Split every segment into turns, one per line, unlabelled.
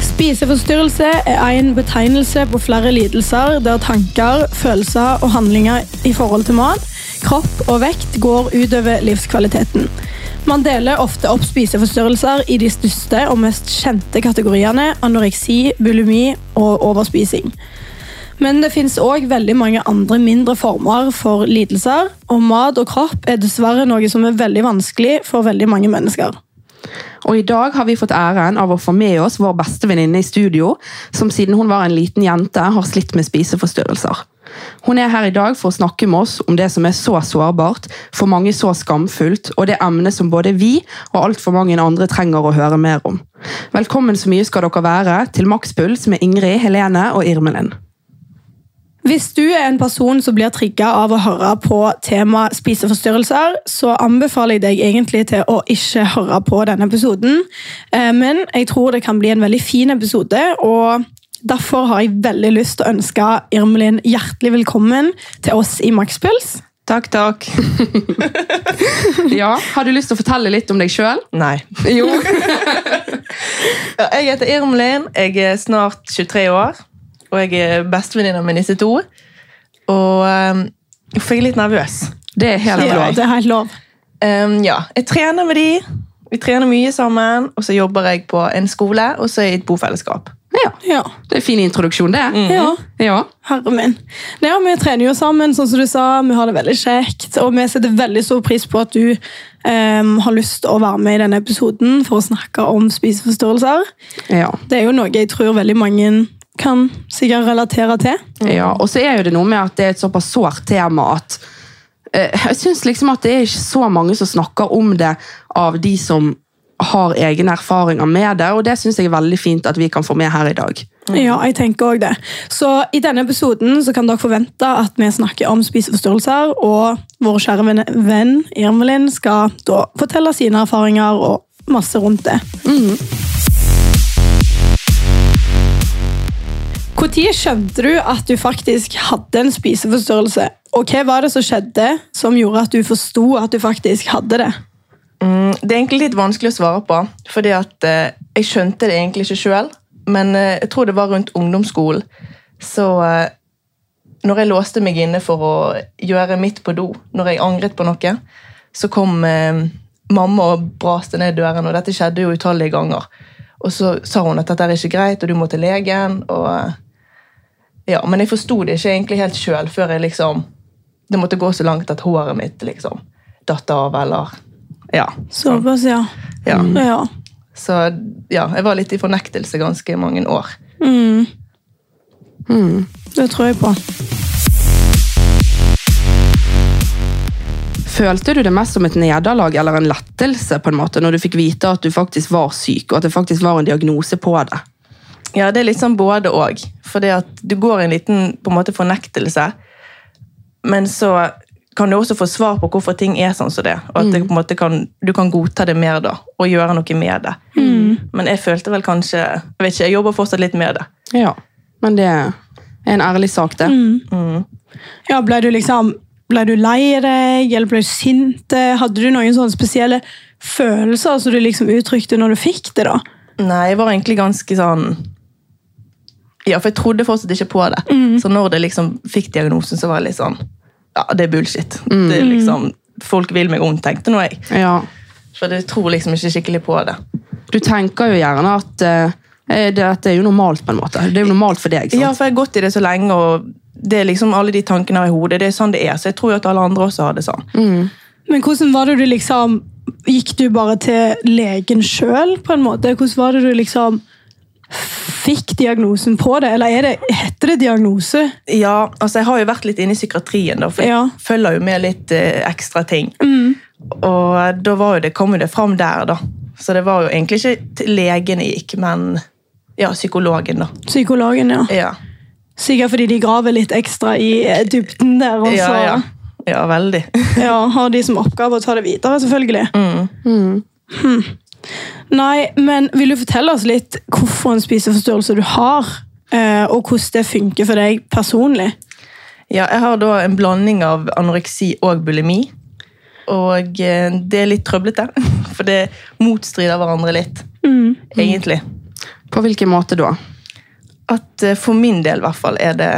Spiseforstyrrelse er en betegnelse på flere lidelser der tanker, følelser og handlinger i forhold til mat, kropp og vekt går utover livskvaliteten. Man deler ofte opp spiseforstyrrelser i de største og mest kjente kategoriene anoreksi, bulimi og overspising. Men det finnes òg veldig mange andre mindre former for lidelser, og mat og kropp er dessverre noe som er veldig vanskelig for veldig mange mennesker.
Og i dag har vi fått æren av å få med oss vår beste venninne i studio, som siden hun var en liten jente har slitt med spiseforstyrrelser. Hun er her i dag for å snakke med oss om det som er så sårbart, for mange så skamfullt, og det emnet som både vi og altfor mange andre trenger å høre mer om. Velkommen så mye skal dere være til Makspuls med Ingrid, Helene og Irmelin.
Hvis du er en person som blir trigga av å høre på tema spiseforstyrrelser, så anbefaler jeg deg egentlig til å ikke høre på denne episoden. Eh, Men jeg tror det kan bli en veldig fin episode, og derfor har jeg veldig lyst til å ønske Irmelin hjertelig velkommen til oss i Makspuls.
Takk, takk.
Ja, Har du lyst til å fortelle litt om deg sjøl?
Nei.
Jo.
Ja, Jeg heter Irmelin. Jeg er snart 23 år. Og jeg er bestevenninna med disse to. Og um, for jeg er litt nervøs.
Det er helt
Ja,
lov.
det er helt lov.
Um, ja, jeg trener med de. Vi trener mye sammen. Og så jobber jeg på en skole, og så er jeg i et bofellesskap.
Ja,
Ja.
det er en fin introduksjon, det.
ja.
Ja.
Herre min. Nei, ja, vi trener jo sammen, sånn som du sa. Vi har det veldig kjekt. Og vi setter veldig stor pris på at du em, har lyst til å være med i denne episoden for å snakke om spiseforstyrrelser.
ja.
Det er jo noe jeg tror veldig mange kan sikkert relatere til.
Mm.
Ja, og så er jo det noe med at det er et såpass sårt tema at eh, jeg synes liksom at det er ikke så mange som snakker om det av de som har egne erfaringer med det, og det synes jeg er veldig fint at vi kan få med her i dag.
Mm.
Ja, jeg tenker også det. Så i denne episoden så kan dere forvente at vi snakker om spiseforstyrrelser, og vår kjære venn, venn Irmelin skal da fortelle sine erfaringer og masse rundt det.
Mm.
Hvor tid skjønte du at du faktisk hadde en spiseforstyrrelse? Og hva var det som skjedde som gjorde at du forsto at du faktisk hadde det?
Mm, Det er egentlig litt vanskelig å svare på, fordi at eh, jeg skjønte det egentlig ikke sjøl. Men eh, jeg tror det var rundt ungdomsskolen. Så eh, når jeg låste meg inne for å gjøre mitt på do, når jeg angret på noe, så kom eh, mamma og braste ned døren, og dette skjedde jo utallige ganger. Og så sa hun at dette er ikke greit, og du må til legen. og eh, ja, Men jeg forsto det ikke egentlig helt sjøl før jeg liksom Det måtte gå så langt at håret mitt liksom datt av, eller Ja.
Såpass, ja.
Ja.
ja.
Så ja, jeg var litt i fornektelse ganske mange år.
Det tror jeg på.
Følte du det mest som et nederlag eller en lettelse på en måte, når du fikk vite at du faktisk var syk, og at det faktisk var en diagnose på det?
Ja, det er litt sånn både òg. For det at du går i en liten på en måte fornektelse, men så kan du også få svar på hvorfor ting er sånn som det. Og at det, på en måte kan, du kan godta det mer da, og gjøre noe med det. Men jeg følte vel kanskje Jeg vet ikke, jeg jobber fortsatt litt med det.
Ja, men det er en ærlig sak det.
Mm.
Ja, ble du liksom ble du lei deg, eller ble du sint? Hadde du noen sånne spesielle følelser som du liksom uttrykte når du fikk det? da?
Nei, jeg var egentlig ganske sånn Ja, for jeg trodde fortsatt ikke på det. Så når det liksom fikk diagnosen, så var jeg litt sånn Ja, det er bullshit. Det er liksom, folk vil meg ondt, tenkte nå jeg.
Ja.
For jeg tror liksom ikke skikkelig på det.
Du tenker jo gjerne at eh, dette er jo normalt på en måte. Det er jo normalt for deg, sant?
Ja, for jeg har gått i det så lenge, og det er liksom alle de tankene jeg har i hodet. Det er sånn det er, så jeg tror jo at alle andre også har det sånn.
Men hvordan var det du liksom Gikk du bare til legen sjøl, på en måte? Hvordan var det du liksom fikk diagnosen på det? Eller er det, heter det diagnose?
Ja, altså jeg har jo vært litt inne i psykiatrien, da, for jeg
Ja.
følger jo med litt eh, ekstra ting. Og eh, da var jo det, kom jo det fram der, da. Så det var jo egentlig ikke til legen jeg gikk, men ja, psykologen, da.
Psykologen, ja.
Ja,
Sikkert fordi de graver litt ekstra i eh, dybden der. Og så
ja, ja. ja veldig.
ja, har de som oppgave å ta det videre, selvfølgelig.
Mm.
Hmm. Nei, men vil du fortelle oss litt hvorfor en spiseforstyrrelse du har, eh, og hvordan det funker for deg personlig?
Ja, jeg har da en blanding av anoreksi og bulimi. Og eh, Mm. det er litt trøblete, for det motstrider hverandre litt, egentlig.
På hvilken måte da?
At eh, for min del i hvert fall er det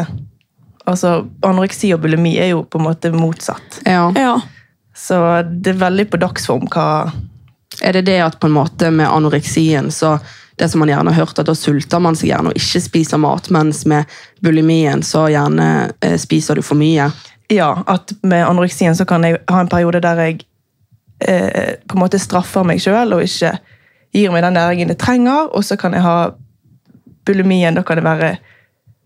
Altså, anoreksi og bulimi er jo på en måte motsatt.
Ja.
Ja.
Så det er veldig på dagsform hva
Er det det at på en måte med anoreksien så det som man gjerne har hørt, at da sulter man seg gjerne og ikke spiser mat, mens med bulimien så gjerne eh, spiser du for mye.
Ja, at med anoreksien så kan jeg ha en periode der jeg eh, på en måte straffer meg sjøl og ikke gir meg den næringen jeg trenger, og så kan jeg ha bulimien. Da kan det være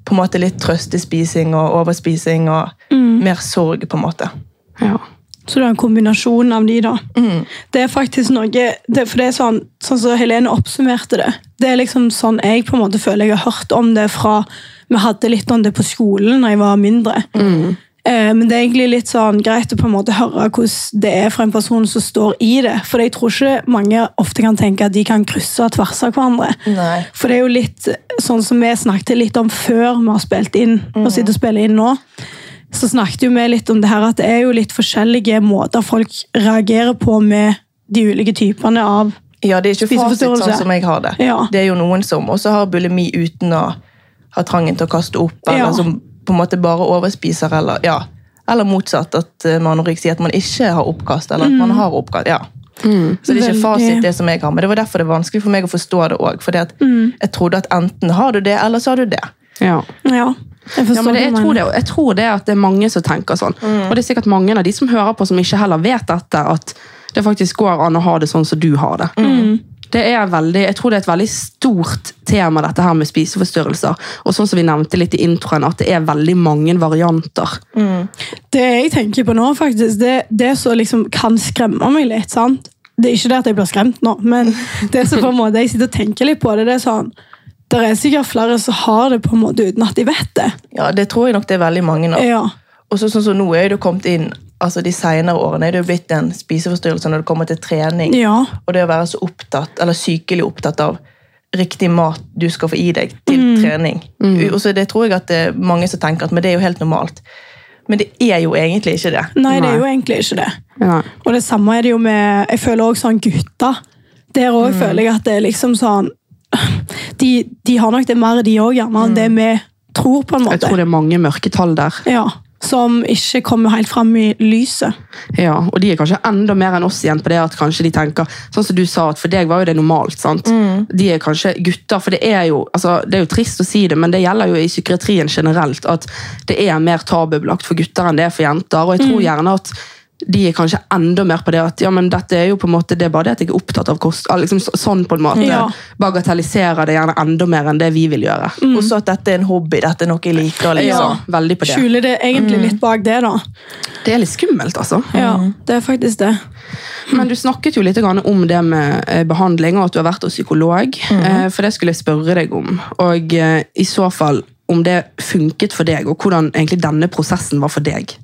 på en måte litt trøstespising og overspising og mer sorg, på en måte.
Ja.
Så det er en kombinasjon av de, da. Det er faktisk noe det, For det er sånn sånn som Helene oppsummerte det. Det er liksom sånn jeg på en måte føler jeg har hørt om det fra Vi hadde litt om det på skolen da jeg var mindre. Eh, men det er egentlig litt sånn greit å på en måte høre hvordan det er fra en person som står i det. For jeg tror ikke mange ofte kan tenke at de kan krysse og tvers av hverandre.
Nei.
For det er jo litt sånn som vi snakket litt om før vi har spilt inn, og sitter og spiller inn nå. Så snakket jo vi litt om det her at det er jo litt forskjellige måter folk reagerer på med de ulike typene av
Ja, det er ikke fasit
Spiseforstyrrelse.
sånn som jeg har det.
Ja.
Det er jo noen som også har bulimi uten å ha trangen til å kaste opp, eller
Ja.
som på en måte bare overspiser, eller ja. Eller motsatt, at eh, med anoreksi at man ikke har oppkast, eller at man har oppkast. ja. Så det er
Mm.
ikke
Veldig.
fasit, det som jeg har. Men det var derfor det var vanskelig for meg å forstå det òg. For
Mm.
jeg trodde at enten har du det, eller så har du det.
Ja.
Ja, jeg forstår
Ja, men det,
hva
jeg,
du
tror
mener.
det, jeg tror det er at det er mange som tenker sånn. Og det er sikkert mange av de som hører på, som ikke heller vet dette, at det faktisk går an å ha det sånn som du har det. Det er veldig, jeg tror det er et veldig stort tema, dette her med spiseforstyrrelser. Og sånn som vi nevnte litt i introen, at det er veldig mange varianter.
Det jeg tenker på nå, faktisk, det, det som liksom kan skremme meg litt sant? Det er ikke det at jeg blir skremt nå, men det som på en måte jeg sitter og tenker litt på det, det er sånn Det er sikkert flere som har det på en måte uten at de vet det.
Ja, Det tror jeg nok det er veldig mange av.
Ja,
Og så sånn som nå er det jo kommet inn altså De senere årene er det jo blitt en spiseforstyrrelse når det kommer til trening.
ja,
Og det å være så opptatt, eller sykelig opptatt av riktig mat du skal få i deg til trening. Og så det tror jeg at det er mange som tenker at men det er jo helt normalt. Men det er jo egentlig ikke det.
Nei, det
Nei.
er jo egentlig ikke det.
Ja.
Og det samme er det jo med Jeg føler også sånn gutter. Der òg
Mm.
føler jeg at det er liksom sånn De, de har nok det mer, de òg, gjerne, enn det vi tror, på en
Mm. Jeg
måte.
tror det er mange mørketall der.
Ja, Som ikke kommer helt fram i lyset.
Ja, og de er kanskje enda mer enn oss igjen på det at kanskje de tenker Sånn som du sa, at for deg var jo det normalt. sant? De er kanskje gutter, for det er jo altså, det er jo trist å si det, men det gjelder jo i psykiatrien generelt at det er mer tabubelagt for gutter enn det er for jenter. og jeg tror gjerne at de er kanskje enda mer på det at ja, men dette er jo på en måte, det er bare det at jeg er opptatt av kost. ah, liksom så- Sånn på en måte.
Ja.
Bagatelliserer det gjerne enda mer enn det vi vil gjøre.
Og så at dette er en hobby, dette er noe jeg
Ja,
liker. Liksom.
veldig på det. Mm.
Skjuler det egentlig litt bak det, da.
Det er litt skummelt, altså.
Ja, det er faktisk det.
Men du snakket jo litt grann om det med eh, behandling, og at du har vært hos psykolog.
Mhm.
eh, For det skulle jeg spørre deg om. Og eh, i så fall om det funket for deg, og hvordan egentlig denne prosessen var for deg.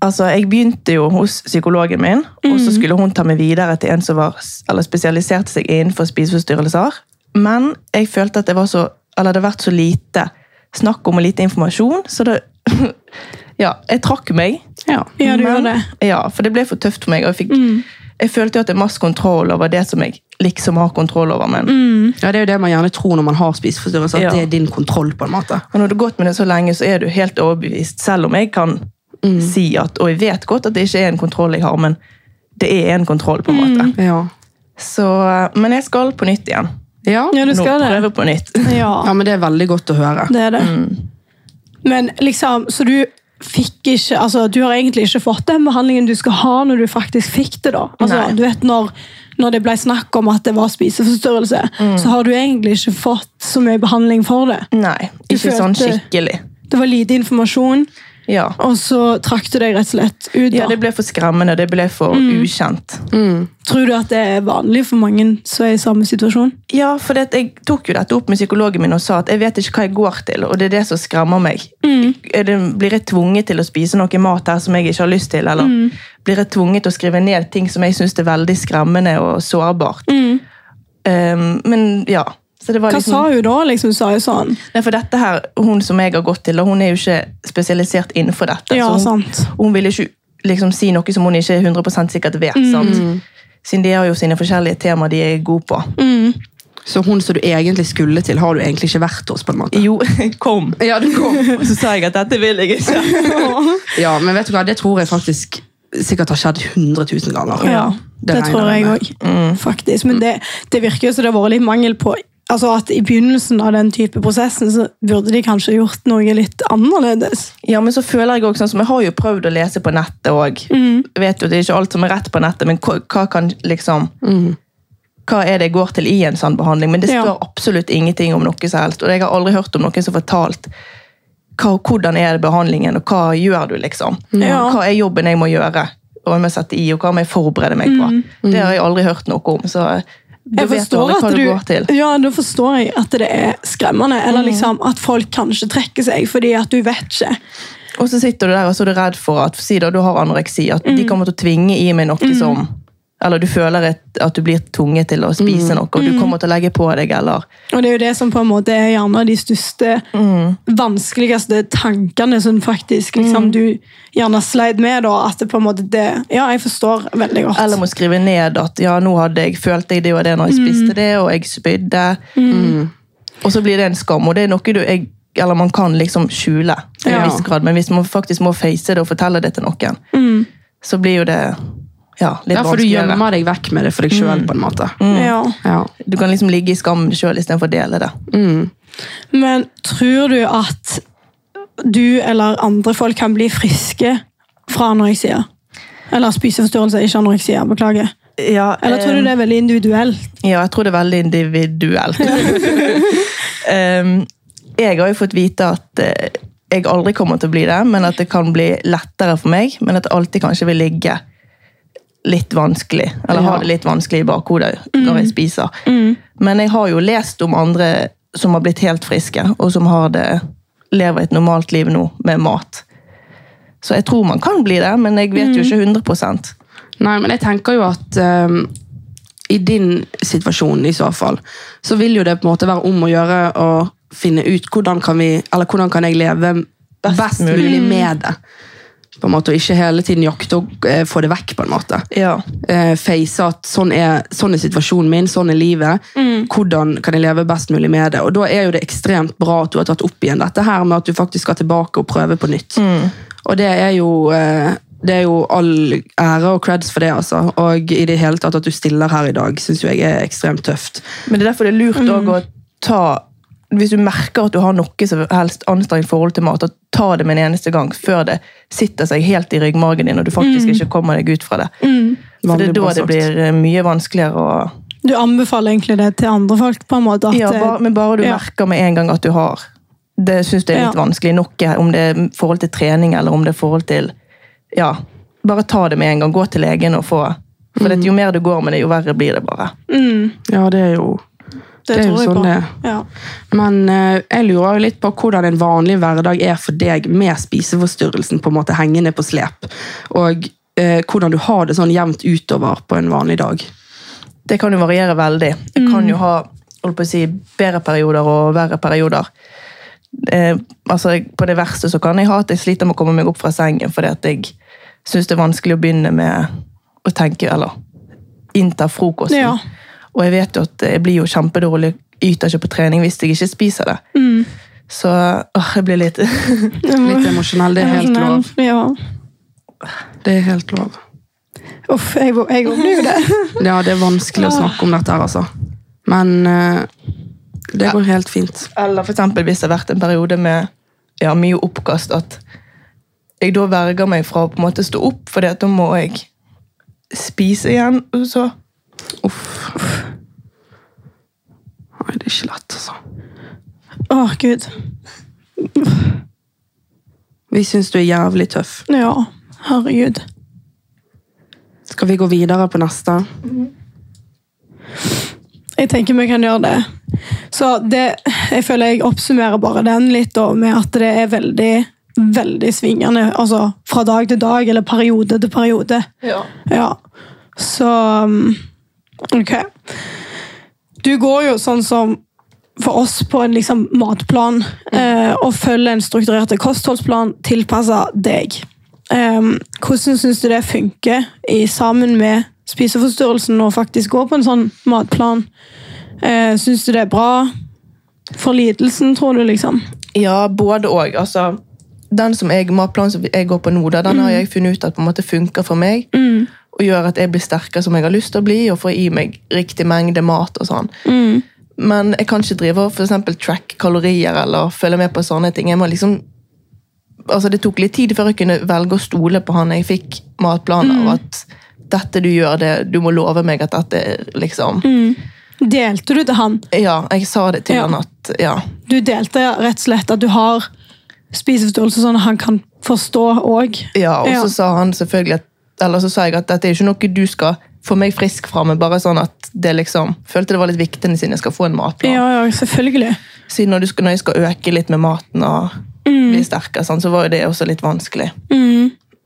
Altså, Jeg begynte jo hos psykologen min, og så skulle hun ta meg videre til en som var, eller spesialiserte seg innenfor spiseforstyrrelser. Men jeg følte at det var så, eller det hadde vært så lite snakk om og lite informasjon, så det Ja, jeg trakk meg.
Ja.
Ja, du gjør det. Mm.
Ja, for det ble for tøft for meg. Og jeg, fikk, jeg følte jo at det er masse kontroll over det som jeg liksom har kontroll over. Men
Mm.
ja, Det er jo det man gjerne tror når man har spiseforstyrrelser, at
Ja.
det er din kontroll. på en måte.
og når du har gått med det så lenge, så er du helt overbevist. Selv om jeg kan
Mm.
si at Og jeg vet godt at det ikke er en kontroll jeg har, men det er en kontroll, på en måte.
Mm.
Ja.
Så, men jeg skal på nytt igjen.
Ja.
Ja, du
Nå
skal det.
prøve på nytt.
Ja,
ja, men det er veldig godt å høre.
det er det.
Mm.
Men liksom, så du fikk ikke Altså, du har egentlig ikke fått den behandlingen du skal ha når du faktisk fikk det, da. Altså,
Nei.
du vet når, når det ble snakk om at det var spiseforstyrrelse,
Mm.
så har du egentlig ikke fått så mye behandling for det.
Nei,
Du
ikke sånn
følte-
skikkelig.
Det var lite informasjon,
Ja.
og så trakk du deg rett og slett ut.
ja,
Da.
det ble for skremmende. Det ble for
Mm.
ukjent.
Tror du at det er vanlig for mange som er i samme situasjon?
Ja, for det, at jeg tok jo dette opp med psykologen min og sa at jeg vet ikke hva jeg går til, og det er det som skremmer meg.
Mm.
Er det, blir jeg tvunget til å spise noe mat her som jeg ikke har lyst til, eller
Mm.
blir jeg tvunget til å skrive ned ting som jeg syns er veldig skremmende og sårbart? Um, men ja, så det var
Mm. Hva
liksom...
sa hun da? Liksom, sa hun sånn?
Nei, for dette her, Hun som jeg har gått til, og hun er jo ikke spesialisert innenfor dette.
Ja,
så hun,
sant.
hun vil jo ikke liksom, si noe som hun ikke
Mm. Mm.
100 sikkert vet. sant? Siden de har jo sine forskjellige temaer de er gode på.
Så hun som du egentlig skulle til, har du egentlig ikke vært hos? på en måte.
Jo, kom.
Ja, du kom.
Og så sa jeg at dette vil jeg ikke.
Ja, men vet du hva, det tror jeg faktisk sikkert har skjedd 100 000 ganger.
Ja, det,
regner
tror jeg
med.
òg,
Mm.
faktisk. Men det, det virker jo som det har vært litt mangel på Altså at I begynnelsen av den type prosessen så burde de kanskje gjort noe litt annerledes.
Ja, men så føler jeg også sånn som jeg har jo prøvd å lese på nettet òg. Jeg Vet jo det er ikke alt som er rett på nettet, men hva, hva kan liksom Hva er det jeg går til i en sånn behandling? Men det
Ja.
står absolutt ingenting om noe som helst. Og jeg har aldri hørt om noen som har fortalt hva, hvordan er det behandlingen, og hva gjør du, liksom?
Ja.
Hva er jobben jeg må gjøre, og hva må jeg sette i, og hva må jeg forberede meg på? Det har jeg aldri hørt noe om, så du
Jeg
vet jo
forstår
aldri hva
at
du,
du,
går til. Mm.
ja, da forstår jeg at det er skremmende, eller liksom at folk kanskje trekker seg fordi at du vet ikke.
Og så sitter du der og så er du redd for at si da, du har anoreksi, at
Mm.
de kommer til å tvinge i meg noe som Eller du føler et, at du blir tvunget til å
Mm.
spise noe, og du kommer til å legge på deg, eller
Og det er jo det som på en måte er gjerne de største,
Mm.
vanskeligste tankene som faktisk liksom, du gjerne sleit med. Da, at det på en måte det, Ja, jeg forstår veldig godt.
Eller må skrive ned at ja, nå hadde jeg, følte jeg det og det når
Mm.
jeg spiste det, og jeg spydde. Og så blir det en skam, og det er noe du jeg, eller man kan liksom skjule til
Ja.
en viss grad, men hvis man faktisk må face det og fortelle det til noen, så blir jo det ja, litt
Mm. Ja, for du
vanskeligere.
gjemmer deg vekk med det Mm. for deg sjøl, på en måte.
Mm.
ja.
Ja.
Du kan liksom ligge i skammen sjøl istedenfor å dele det.
Men tror du at du eller andre folk kan bli friske fra anoreksia? Eller spiseforstyrrelse, ikke anoreksia. Beklager.
Ja,
Eller tror du det er veldig individuelt?
Ja, jeg tror det er veldig individuelt. Em, jeg har jo fått vite at eh, jeg aldri kommer til å bli det, men at det kan bli lettere for meg. Men at det alltid kanskje vil ligge litt vanskelig, eller ha
Ja.
det litt vanskelig i bakhodet når jeg spiser. Men jeg har jo lest om andre som har blitt helt friske, og som har det, lever et normalt liv nå med mat. Så jeg tror man kan bli det, men jeg vet jo ikke 100
Nei, men jeg tenker jo at ehm, i din situasjon i så fall, så vil jo det på en måte være om å gjøre å finne ut hvordan kan vi, eller hvordan kan jeg leve best, mulig. med det. På en måte, og ikke hele tiden jakte og eh, få det vekk, på en måte.
Ja.
Eh, face at sånn er, sånn er situasjonen min, sånn er livet. Hvordan kan jeg leve best mulig med det? Og da er jo det ekstremt bra at du har tatt opp igjen dette her med at du faktisk skal tilbake og prøve på nytt. Og det er jo eh, det er jo all ære og creds for det, altså. Og i det hele tatt at du stiller her i dag, syns jeg er ekstremt tøft.
Men det er derfor det er lurt
Mm.
også å ta Hvis du merker at du har noe som helst anstrengt forhold til mat, at ta det med en eneste gang før det sitter seg helt i ryggmargen din, og du
Mm.
faktisk ikke kommer deg ut fra det. For det
Veldig
er
bra
da det
sagt.
blir eh, mye vanskeligere å
Du anbefaler egentlig det til andre folk? på en måte? At
ja,
det-
bare, Men bare du
Ja.
merker med en gang at du har Det syns jeg er litt
Ja.
vanskelig nok, eh, om det er forhold til trening eller om det er forhold til Ja, bare ta det med en gang. Gå til legen og få For
Mm.
det, jo mer du går med det, jo verre blir det bare.
Ja, det er jo
det,
det er jo
tror jeg
sånn
på.
det er.
Ja.
Men eh, jeg lurer jo litt på hvordan en vanlig hverdag er for deg med spiseforstyrrelsen på en måte hengende på slep. Og eh, hvordan du har det sånn jevnt utover på en vanlig dag.
det kan jo variere veldig. Jeg kan jo ha holdt på å si, bedre perioder og verre perioder. Eh, altså, jeg- på det verste så kan jeg ha at jeg sliter med å komme meg opp fra sengen fordi at jeg syns det er vanskelig å begynne med å tenke eller innta frokosten.
Ja.
Og jeg vet jo at jeg blir jo kjempedårlig, yter ikke på trening hvis jeg ikke spiser det. Så åh, jeg blir litt
Litt Mm. emosjonell, det er helt
Emosjonell,
lov.
Mm. Ja.
Det er helt lov.
Uff, jeg jeg gjorde jo det.
Ja, det er vanskelig å snakke om dette her, altså. Men eh, det går helt fint.
Eller for eksempel hvis det har vært en periode med ja, mye oppkast, at jeg da verger meg fra å på en måte stå opp, for da må jeg spise igjen. og Så.
Uff. Nei, det er ikke lett, altså.
Å, gud.
Vi syns du er jævlig tøff.
Ja. Herregud.
Skal vi gå videre på neste?
Jeg tenker vi kan gjøre det. Så det, jeg føler jeg oppsummerer bare den litt da, med at det er veldig, veldig svingende. Altså fra dag til dag, eller periode til periode. Ja. Så um, Ok. Du går jo sånn som for oss på en liksom matplan, eh, og følger en strukturert kostholdsplan tilpassa deg. Em, hvordan syns du det funker i, sammen med spiseforstyrrelsen å faktisk gå på en sånn matplan? Eh, Syns du det er bra for lidelsen, tror du, liksom?
Ja, både og. Altså, den som jeg, matplanen som jeg går på nå, da, den har jeg funnet ut at på en måte funker for meg. Og gjør at jeg blir sterkere som jeg har lyst til å bli, og får i meg riktig mengde mat. og sånn. Men jeg kan ikke drive og for eksempel track kalorier eller følge med på sånne ting. Jeg må liksom, altså Det tok litt tid før jeg kunne velge å stole på han jeg fikk matplaner. og at dette du gjør, det, du må love meg at dette er liksom
Delte du til han?
Ja, jeg sa det til
Ja.
han at ja,
Du delte rett og slett at du har spiseforståelse, sånn at han kan forstå òg.
Ja, og
Ja.
så sa han selvfølgelig at, eller så sa jeg at dette er ikke noe du skal få meg frisk fra, men bare sånn at det liksom, følte det var litt viktig siden jeg skal få en matplan.
Ja, ja, selvfølgelig.
Siden når, du skal, når jeg skal øke litt med maten og
Mm.
bli sterkere, sånn, så var jo det også litt vanskelig.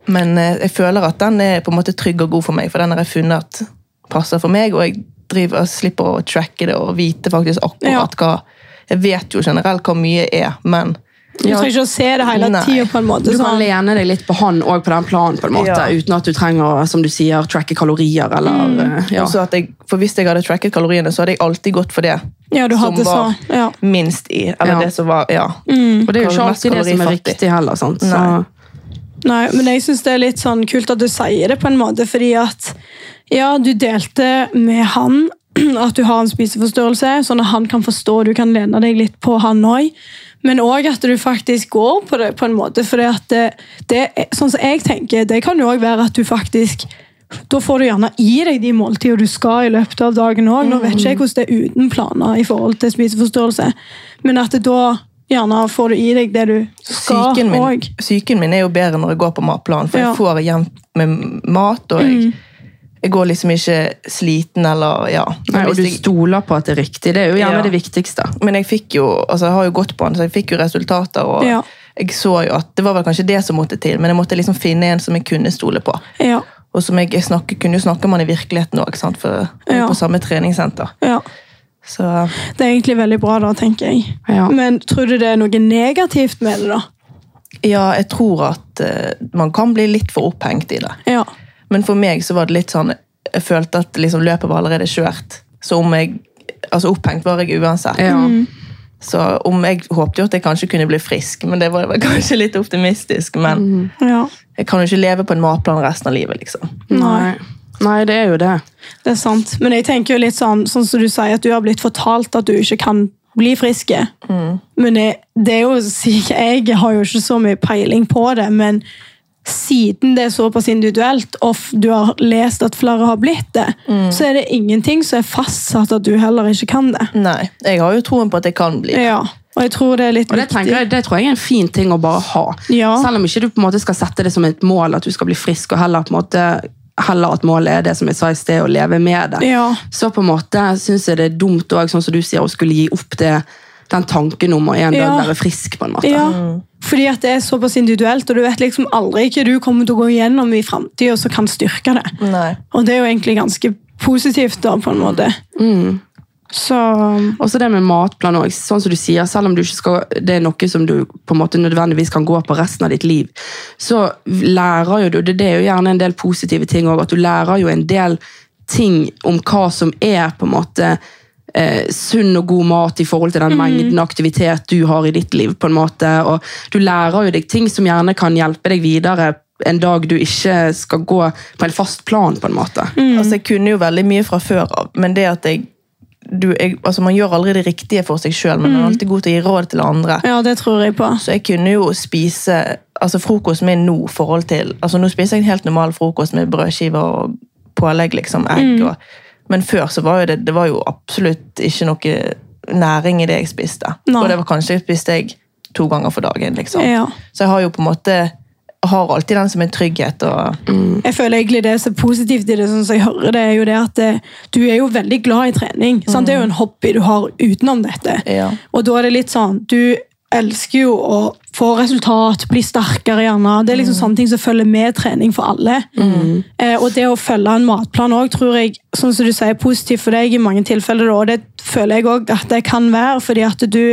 Men eh, jeg føler at den er på en måte trygg og god for meg, for den har jeg funnet at passer for meg, og jeg driver, og slipper å tracke det og vite faktisk
Ja.
akkurat hva Jeg vet jo generelt hvor mye er, men
Du trenger ikke å se det hele
Nei.
tida på en måte.
Du kan
Sånn.
lene deg litt på han og på den planen, på en måte,
Ja.
uten at du trenger å, som du sier, tracke kalorier. Eller, eh, ja.
Og så at jeg, for Hvis jeg hadde tracket kaloriene, så hadde jeg alltid gått for det.
Ja, du hadde
som var
så- ja.
minst i. Eller
Ja. Mm.
det som var Ja.
og det er jo ikke
Kal-
alltid det
mest
som er
kalorifattig.
riktig heller. Sant? Så,
Nei.
Nei, men jeg syns det er litt sånn kult at du sier det på en måte, fordi at ja, du delte med han at du har en spiseforstørrelse, sånn at han kan forstå, og du kan lene deg litt på han òg. Men òg at du faktisk går på det på en måte, for det, det er- sånn som jeg tenker, det kan jo òg være at du faktisk da får du gjerne i deg de måltidene du skal i løpet av dagen òg. Nå vet ikke jeg hvordan det er uten planer i forhold til spiseforstyrrelse, men at det da gjerne får du i deg det du skal
Psyken min,
òg.
psyken min er jo bedre når jeg går på matplan, for
Ja.
jeg får jevnt med mat, og
Mm.
jeg, jeg går liksom ikke sliten eller Ja.
Nei, og
Hvis
du
jeg,
stoler på at det er riktig. Det er jo gjerne
Ja.
det viktigste.
men jeg fikk jo altså jeg har jo gått på den, så jeg fikk jo resultater, og
Ja.
jeg så jo at det var vel kanskje det som måtte til, men jeg måtte liksom finne en som jeg kunne stole på.
Ja.
Og som jeg, jeg snakker, kunne jo snakke om han i virkeligheten òg, for vi er
Ja.
på samme treningssenter.
Ja,
Så
Det er egentlig veldig bra, da, tenker jeg.
Ja.
Men tror du det er noe negativt med det, da?
ja, jeg tror at eh, man kan bli litt for opphengt i det.
Ja.
Men for meg så var det litt sånn Jeg følte at liksom løpet var allerede kjørt. Så om jeg Altså opphengt var jeg uansett.
Ja.
Så om jeg håpte jo at jeg kanskje kunne bli frisk, men det var vel kanskje litt optimistisk. Men
ja.
jeg kan jo ikke leve på en matplan resten av livet, liksom.
Nei. Nei, det er jo det.
Det er sant. Men jeg tenker jo litt sånn, sånn som du sier, at du har blitt fortalt at du ikke kan bli friske.
Mm.
Men jeg, det er jo sikkert Jeg har jo ikke så mye peiling på det, men siden det er såpass individuelt, og f- du har lest at flere har blitt det,
Mm.
så er det ingenting som er fastsatt at du heller ikke kan det.
Nei. Jeg har jo troen på at jeg kan bli.
Ja, Og jeg tror det er litt
Og det, tenker jeg, det tror jeg er en fin ting å bare ha.
Ja.
Selv om ikke du på en måte skal sette det som et mål at du skal bli frisk, og heller, på en måte, heller at målet er det som jeg sa i sted, å leve med det.
Ja.
Så på en måte syns jeg det er dumt også, sånn som du sier, å skulle gi opp det, den tanken om å en dag
Ja.
være frisk, på en måte.
Ja, fordi at det er såpass individuelt, og du vet liksom aldri hva du kommer til å gå igjennom i framtida som kan styrke det.
Nei.
Og det er jo egentlig ganske positivt, da, på en måte. Så
Og så det med matplan også, sånn som du sier, selv om du ikke skal, det er noe som du på en måte nødvendigvis kan gå på resten av ditt liv, så lærer jo du, det det er jo gjerne en del positive ting også, at du lærer jo en del ting om hva som er på en måte eh, sunn og god mat i forhold til den mengden aktivitet du har i ditt liv, på en måte, og du lærer jo deg ting som gjerne kan hjelpe deg videre en dag du ikke skal gå på en fast plan, på en måte.
Altså, jeg kunne jo veldig mye fra før av, men det at jeg, du, jeg altså, Man gjør aldri det riktige for seg sjøl, men man er alltid god til å gi råd til andre.
ja, det tror jeg på.
Så jeg kunne jo spise altså frokosten min nå i forhold til altså Nå spiser jeg en helt normal frokost med brødskiver og pålegg, liksom, egg.
Mm.
Og, men før så var jo det, det var jo absolutt ikke noe næring i det jeg spiste.
Nei.
Og det var kanskje spiste jeg to ganger for dagen. liksom.
Ja.
Så jeg har jo på en måte har alltid den som en trygghet. og
Jeg føler egentlig det som er positivt i det, sånn som jeg hører det, er jo det at eh, du er jo veldig glad i trening. Sant? Det er jo en hobby du har utenom dette.
Ja.
Og da er det litt sånn Du elsker jo å få resultat, bli sterkere gjerne. Det er liksom sånne ting som følger med trening for alle. Eh, og det å følge en matplan òg tror jeg sånn som du sier, er positivt for deg i mange tilfeller. da, Og det føler jeg òg at det kan være, fordi at du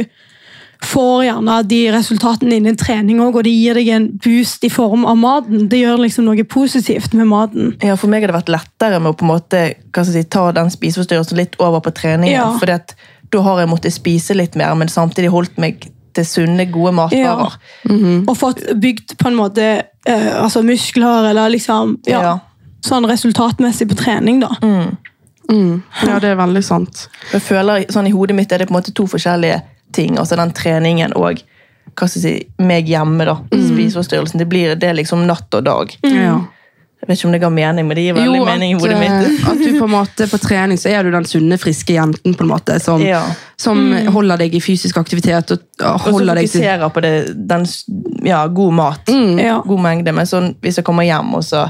får gjerne de resultatene innen trening også, og det gir deg en boost i form av maten. Det gjør liksom noe positivt med maten.
Ja, For meg har det vært lettere med å på en måte, hva skal jeg si, ta den spiseforstyrrelsen litt over på treningen.
Ja.
fordi at da har jeg måttet spise litt mer, men samtidig holdt meg til sunne, gode matvarer. Mm.
Og fått bygd på en måte eh, altså muskler eller liksom ja,
Ja.
Sånn resultatmessig på trening, da.
Mm. Ja, det er veldig sant.
Jeg føler, sånn I hodet mitt er det på en måte to forskjellige ting. altså Den treningen og hva skal jeg si, meg hjemme. da,
Mm.
Spiseforstyrrelsen. Det blir det er liksom natt og dag.
Ja.
Jeg vet ikke om det ga mening, men det gir veldig
Jo, at,
mening i hodet mitt.
eh, at du på en måte på trening så er du den sunne, friske jenten på en måte, som,
Ja.
som holder deg i fysisk aktivitet og ja,
Og så
holder deg til Mm.
fokuserer på det, den s- ja, god mat,
Ja.
god mengde. Men sånn, hvis jeg kommer hjem, og så,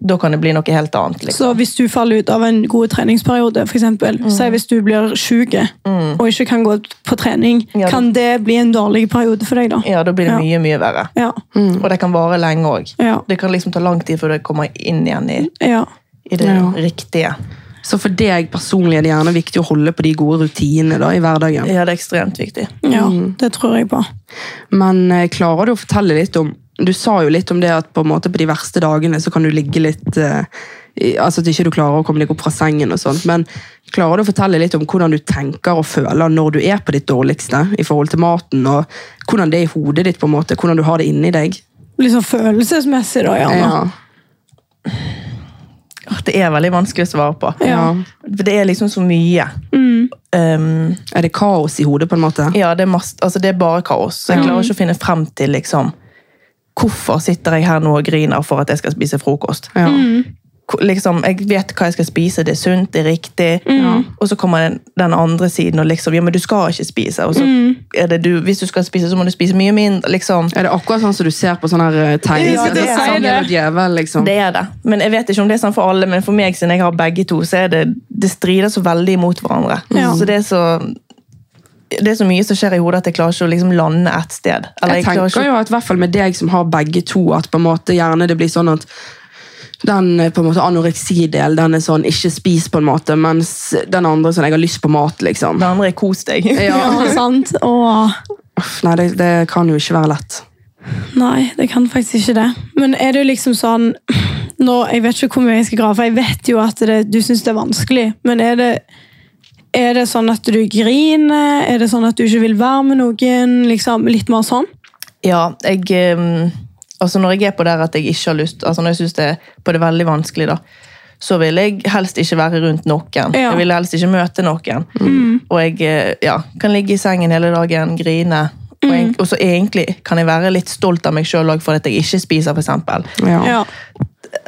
da kan det bli noe helt annet. Liksom.
Så hvis du faller ut av en god treningsperiode, f.eks. eksempel,
Mm.
Si hvis du blir syk og ikke kan gå på trening,
Ja, det-
kan det bli en dårlig periode for deg da?
Ja, Da blir det
Ja.
mye, mye verre.
Ja.
Mm.
Og det kan vare lenge òg.
Ja.
Det kan liksom ta lang tid før det kommer inn igjen i,
ja.
i det
Ja.
riktige.
Så for deg personlig er det gjerne viktig å holde på de gode rutinene da, i hverdagen.
Ja, det er ekstremt viktig.
ja
Mm.
det tror jeg på.
Men eh, klarer du å fortelle litt om Du sa jo litt om det at på, en måte på de verste dagene så kan du ligge litt eh, i- Altså at ikke du klarer å komme deg opp fra sengen og sånt, men klarer du å fortelle litt om hvordan du tenker og føler når du er på ditt dårligste i forhold til maten, og hvordan det er i hodet ditt, på en måte, hvordan du har det inni deg?
Liksom følelsesmessig, da, gjerne.
Ja.
Åh, Det er veldig vanskelig å svare på.
Ja.
For det er liksom så mye. Um,
Er det kaos i hodet, på en måte?
ja, det er, masse, altså det er bare kaos. Så jeg klarer ikke å finne frem til liksom, hvorfor sitter jeg her nå og griner for at jeg skal spise frokost.
Ja.
Ko- Liksom, jeg vet hva jeg skal spise, det er sunt, det er riktig. Og så kommer den, den andre siden og liksom Ja, men du skal ikke spise. Og så er det du, hvis du skal spise, så må du spise mye mindre. Liksom.
Er det akkurat sånn som du ser på sånne her, eh,
Ja,
tegneserier?
det er-
Sangel og djevel, liksom.
Det er det. Men jeg vet ikke om det er sånn for alle, men for meg, siden jeg har begge to, så er det, det strider så veldig imot hverandre.
Ja.
Så det er så det er så mye som skjer i hodet at jeg klarer ikke å liksom lande ett sted. Eller
jeg
klarer ikke
tenker
å-
jo at i hvert fall med deg som har begge to, at på en måte gjerne det blir sånn at den eh, på en måte anoreksidel, den er sånn ikke spis på en måte, mens den andre sånn jeg har lyst på mat, liksom.
Det andre er kos deg.
Ja.
Ja.
sant? Og
Uff, Nei, det, det kan jo ikke være lett.
Nei, det kan faktisk ikke det. Men er det jo liksom sånn nå, Jeg vet ikke hvor mye jeg skal grave, jeg vet jo at det, du syns det er vanskelig, men er det er det sånn at du griner? Er det sånn at du ikke vil være med noen? Liksom, litt mer sånn?
Ja, jeg ehm, Altså, når jeg er på der at jeg ikke har lyst Altså, når jeg syns det er på det veldig vanskelig, da, så vil jeg helst ikke være rundt noen. Jeg vil helst ikke møte noen.
Mm.
Og jeg eh, ja, kan ligge i sengen hele dagen, grine. Og,
Mm.
jeg, og så egentlig kan jeg være litt stolt av meg sjøl for at jeg ikke spiser, f.eks.
Ja.
Ja.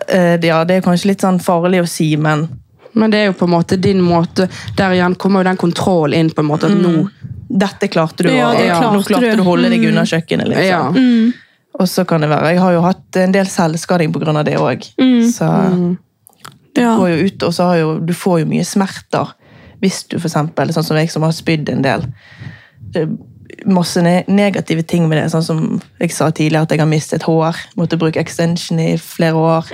Eh, det- ja, det er kanskje litt sånn farlig å si, men
Men det er jo på en måte din måte, der igjen kommer jo den kontrollen inn på en måte, at
Mm.
nå,
dette klarte du,
Ja,
og
det
nå
klarte
klarte
du. Mm.
du å holde deg unna kjøkkenet. Liksom.
ja.
Og så kan det være. Jeg har jo hatt en del selvskading pga. det òg. Så
Ja.
går jo ut, og så har jo, du får jo mye smerter hvis du for eksempel, sånn som jeg som har spydd en del. Eh, Masse ne negative ting med det, sånn som jeg sa tidligere, at jeg har mistet hår. Måtte bruke extension i flere år.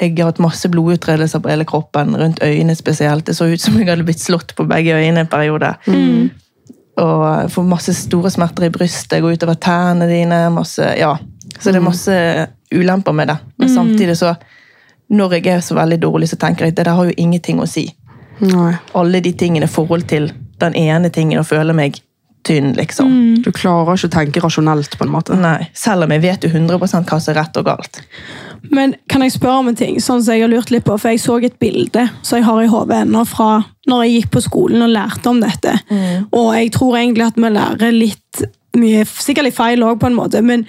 Jeg har hatt masse blodutredelser på hele kroppen, rundt øynene spesielt. Det så ut som jeg hadde blitt slått på begge øynene en periode. Og jeg får masse store smerter i brystet, går utover tærne dine. masse, ja. Så det er masse ulemper med det. Men samtidig så når jeg er så veldig dårlig, så tenker jeg at det der har jo ingenting å si.
Nei.
Alle de tingene i forhold til den ene tingen å føle meg tynn, liksom.
Du klarer ikke å tenke rasjonelt på en måte.
Nei, Selv om jeg vet jo 100 hva som er rett og galt.
Men kan jeg spørre om en ting? Sånn som Jeg har lurt litt på, for jeg så et bilde som jeg har i hodet ennå fra når jeg gikk på skolen og lærte om dette. Og jeg tror egentlig at vi lærer litt mye, sikkert litt feil òg, på en måte. men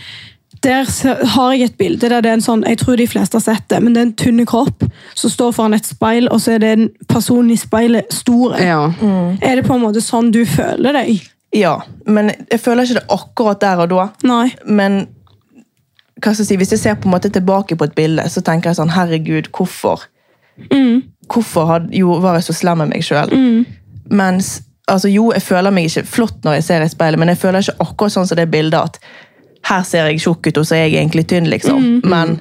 der se- har jeg et bilde der det er en sånn, jeg tror de fleste har sett det, men det er en tynne kropp som står foran et speil, og så er det en person i speilet stor.
Mm.
Ja.
Er det på en måte sånn du føler deg?
Ja, men jeg føler ikke det akkurat der og da.
Nei.
Men hva skal jeg si, hvis jeg ser på en måte tilbake på et bilde, så tenker jeg sånn Herregud, hvorfor? Hvorfor had, jo, var jeg så slem med meg sjøl? Mens altså, jo, jeg føler meg ikke flott når jeg ser i speilet, men jeg føler ikke akkurat sånn som det bildet at her ser jeg tjukk ut, og så er jeg egentlig tynn, liksom. Men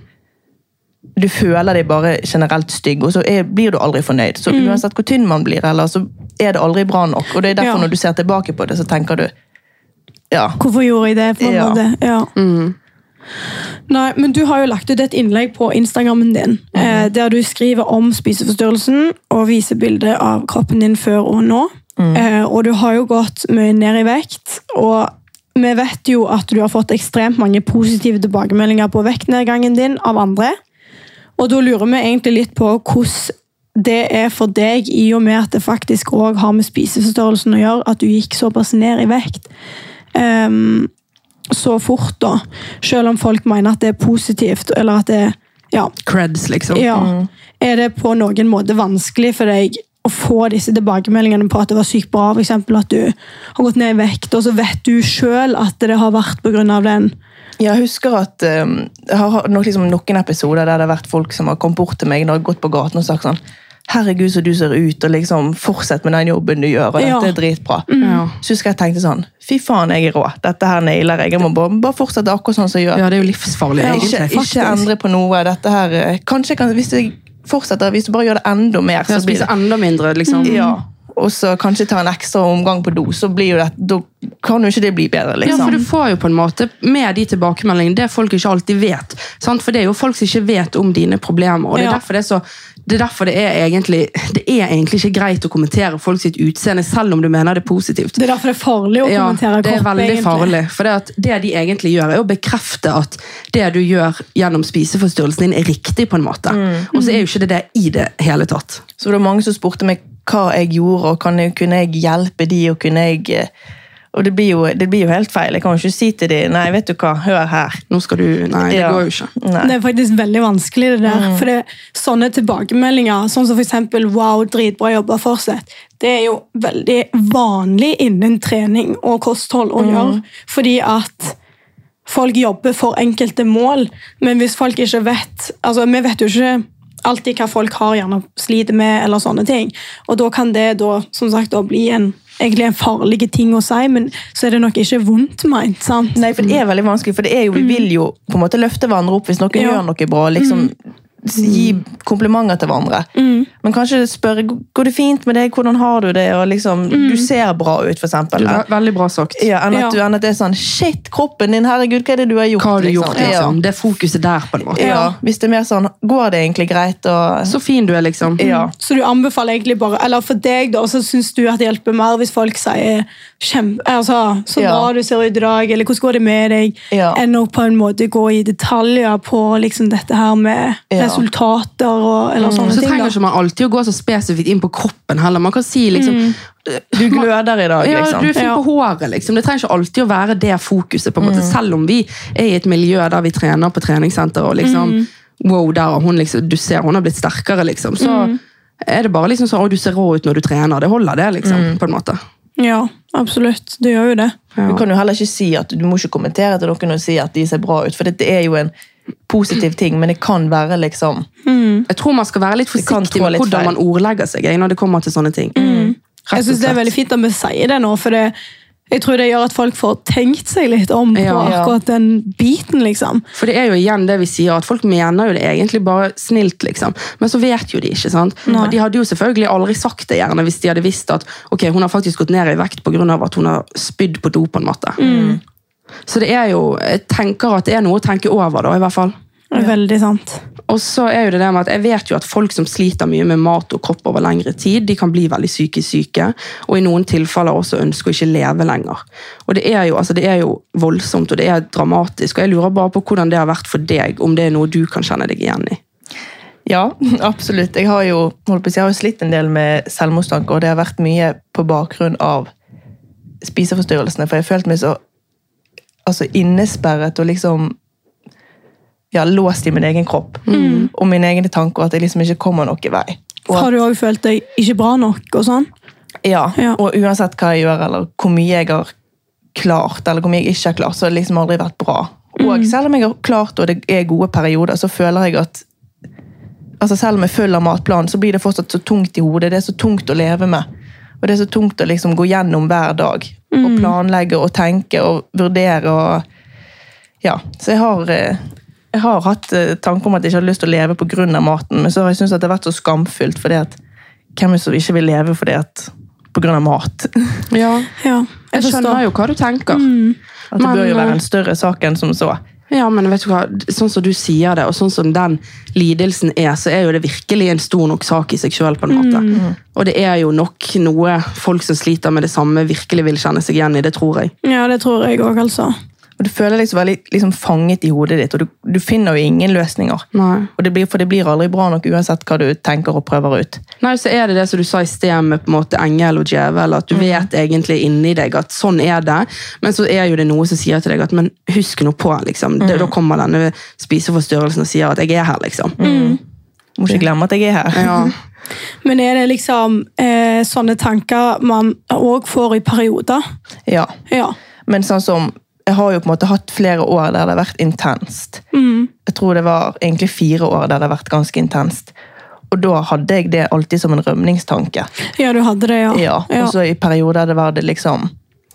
du føler deg bare generelt stygg, og så er, blir du aldri fornøyd. Så uansett hvor tynn man blir, eller, så er det aldri bra nok. Og det er derfor
Ja.
når du ser tilbake på det, så tenker du Ja.
Hvorfor gjorde jeg det? på en
Ja.
måte? Ja. Nei, men Du har jo lagt ut et innlegg på Instagrammen din eh, der du skriver om spiseforstyrrelsen og viser bilder av kroppen din før og nå. Eh, og du har jo gått mye ned i vekt. og vi vet jo at du har fått ekstremt mange positive tilbakemeldinger på vektnedgangen din av andre. Og da lurer vi egentlig litt på hvordan det er for deg, i og med at det faktisk òg har med spiseforstørrelsen å gjøre, at du gikk såpass ned i vekt ehm, så fort, da. Selv om folk mener at det er positivt, eller at det ja,
Creds, liksom.
ja. Er det på noen måte vanskelig for deg å få disse tilbakemeldingene på at det var sykt bra, f.eks. at du har gått ned i vekt, og så vet du sjøl at det har vært pga. den?
Jeg husker at eh, jeg har hatt nok, liksom, noen episoder der det har vært folk som har kommet bort til meg når jeg har gått på gaten og sagt sånn Herregud, så du ser ut, og liksom fortsett med den jobben du gjør, og
Ja.
dette er dritbra.
Ja.
Så husker jeg tenkte sånn Fy faen, jeg er rå. Dette her nailer jeg. Jeg må bare, bare fortsette akkurat sånn som jeg gjør.
Ja, det er jo livsfarlig,
ikke,
egentlig.
ikke endre på noe. Dette her eh, Kanskje jeg kan, hvis jeg fortsetter, hvis du bare gjør det enda mer,
Ja,
så blir
spise
det
enda mindre, liksom.
Ja. Og så kanskje ta en ekstra omgang på do, så blir jo det, da kan jo ikke det bli bedre,
Ja, for
liksom.
du får jo på en måte med de tilbakemeldingene det folk ikke alltid vet. Sant? For det er jo folk som ikke vet om dine problemer. og Det er
Ja.
derfor det er, så, det er, derfor det er, egentlig, det er egentlig ikke greit å kommentere folk sitt utseende, selv om du mener det er positivt.
Det er derfor det er farlig å
Ja,
kommentere
det er
kropp,
veldig
egentlig.
farlig. For det, at det de egentlig gjør, er å bekrefte at det du gjør gjennom spiseforstyrrelsen din, er riktig. på en måte. Og så er jo ikke det det i det hele tatt.
Så det var mange som spurte meg hva jeg gjorde, og kan jeg, kunne jeg hjelpe de, og kunne jeg eh, Og det blir, jo, det blir jo helt feil. Jeg kan jo ikke si til de Nei, vet du hva, hør her.
Nå skal du, Nei, det
Ja.
går jo ikke.
Nei.
Det er faktisk veldig vanskelig det der. For det, sånne tilbakemeldinger, sånn som for eksempel wow, dritbra jobba, fortsett, det er jo veldig vanlig innen trening og kosthold å gjøre. Fordi at folk jobber for enkelte mål, men hvis folk ikke vet altså Vi vet jo ikke alltid hva folk har gjerne sliter med, eller sånne ting. Og da kan det da, som sagt, da bli en, egentlig en farlig ting å si, men så er det nok ikke vondt meint. sant?
Nei, for det er veldig vanskelig, for det er jo, vi vil jo på en måte løfte hverandre opp hvis noen
Mm. Ja. Mm.
gjør noe bra. liksom s- Gi komplimenter til hverandre. Men kanskje spørre "G- går det fint med deg, hvordan har du det, og liksom, du ser bra ut, for eksempel.
Du, veldig bra sagt.
Ja, enn, at
Mm. Ja.
Du, enn at det er sånn Shit, kroppen din, herregud, hva er det du har gjort?
Hva har du gjort?
liksom?
Liksom? Det er fokuset der, på en
Ja.
måte.
Ja. Hvis det er mer sånn Går det egentlig greit? Og,
Så fin du er, liksom.
ja.
Så du anbefaler egentlig bare Eller for deg, da, så syns du at det hjelper mer hvis folk sier kjempe, altså, 'så
Ja.
bra du ser ut i dag', eller 'hvordan går det med deg',
Ja.
enn å på en måte gå i detaljer på liksom, dette her med
Ja.
resultater og eller sånne
sånn, Så
ting.
trenger
da.
ikke man alltid å gå så spesifikt inn på kroppen heller. Man kan si liksom
Du gløder i dag,
ja,
liksom.
du er fin på håret, liksom. Det trenger ikke alltid å være det fokuset, på en måte. Selv om vi er i et miljø der vi trener på treningssenter, og liksom Wow, der har hun liksom Du ser hun har blitt sterkere, liksom. Så er det bare liksom sånn Å, du ser rå ut når du trener. Det holder, det, liksom. På en måte.
Ja, absolutt. Det gjør jo det.
Ja.
Du kan jo heller ikke si at du må ikke kommentere til noen og si at de ser bra ut, for dette er jo en positiv ting, men det kan være liksom
Jeg tror man skal være litt
kan
forsiktig
trå
med
litt
hvordan
feil.
man ordlegger seg jeg, når det kommer til sånne ting. Rett og
Jeg synes Det er
slett.
veldig fint at vi sier det nå, for det, jeg tror det gjør at folk får tenkt seg litt om på
Ja.
akkurat den biten, liksom.
For det er jo igjen det vi sier, at folk mener jo det egentlig bare snilt, liksom. Men så vet jo de ikke, sant? Og de hadde jo selvfølgelig aldri sagt det gjerne hvis de hadde visst at ok, hun har faktisk gått ned i vekt på grunn av at hun har spydd på do på en måte. Så det er jo, jeg tenker at det er noe å tenke over da, i hvert fall.
Det er Veldig sant.
Og så er jo det det med at jeg vet jo at folk som sliter mye med mat og kropp over lengre tid, de kan bli veldig psykisk syke, og i noen tilfeller også ønske å ikke leve lenger. Og det er jo, altså det er jo voldsomt, og det er dramatisk, og jeg lurer bare på hvordan det har vært for deg, om det er noe du kan kjenne deg igjen i.
Ja, absolutt. Jeg har jo, holdt på, å si, jeg har jo slitt en del med selvmordstanker, og det har vært mye på bakgrunn av spiseforstyrrelsene, for jeg har følt meg så altså, innesperret og liksom ja, låst i min egen kropp og mine egne tanker, og at jeg liksom ikke kommer noen vei. Og,
Har du òg følt deg ikke bra nok og sånn?
ja,
Ja.
og uansett hva jeg gjør, eller hvor mye jeg har klart, eller hvor mye jeg ikke har klart, så har det liksom aldri vært bra. Og selv om jeg har klart, og det er gode perioder, så føler jeg at altså selv om jeg følger matplanen, så blir det fortsatt så tungt i hodet. Det er så tungt å leve med. Og det er så tungt å liksom gå gjennom hver dag. Og planlegge og tenke og vurdere og Ja. Så jeg har, eh, jeg har hatt eh, tanker om at jeg ikke har lyst til å leve pga. maten, men så har jeg syntes at det har vært så skamfullt fordi at hvem er det som ikke vil leve fordi at pga. mat.
Ja.
Ja, jeg,
Jeg skjønner
forstår.
jo hva du tenker.
At det
Men,
bør jo
eh,
være en større sak enn som så.
Ja, men vet du hva, sånn som du sier det, og sånn som den lidelsen er, så er jo det virkelig en stor nok sak i seg selv på en måte. Og det er jo nok noe folk som sliter med det samme virkelig vil kjenne seg igjen i, det tror jeg.
Ja, det tror jeg òg, altså.
Og Du føler deg så veldig liksom, fanget i hodet ditt, og du, du finner jo ingen løsninger.
Nei.
Og det blir, for det blir aldri bra nok uansett hva du tenker og prøver ut.
Nei, så er det det som du sa i sted med på en måte engel og djevel, at du
Mm.
vet egentlig inni deg at sånn er det, men så er jo det noe som sier til deg at, men husk nå på, liksom.
Mm.
Det, da kommer denne spiseforstyrrelsen og sier at jeg er her, liksom.
Mm. Må ikke glemme at jeg er her.
Ja.
Men er det liksom eh, sånne tanker man òg får i perioder?
Ja.
Ja.
Men sånn som Jeg har jo på en måte hatt flere år der det har vært intenst. Jeg tror det var egentlig fire år der det har vært ganske intenst. Og da hadde jeg det alltid som en rømningstanke.
ja, du hadde det, ja.
Ja,
ja.
Og så i perioder det var det liksom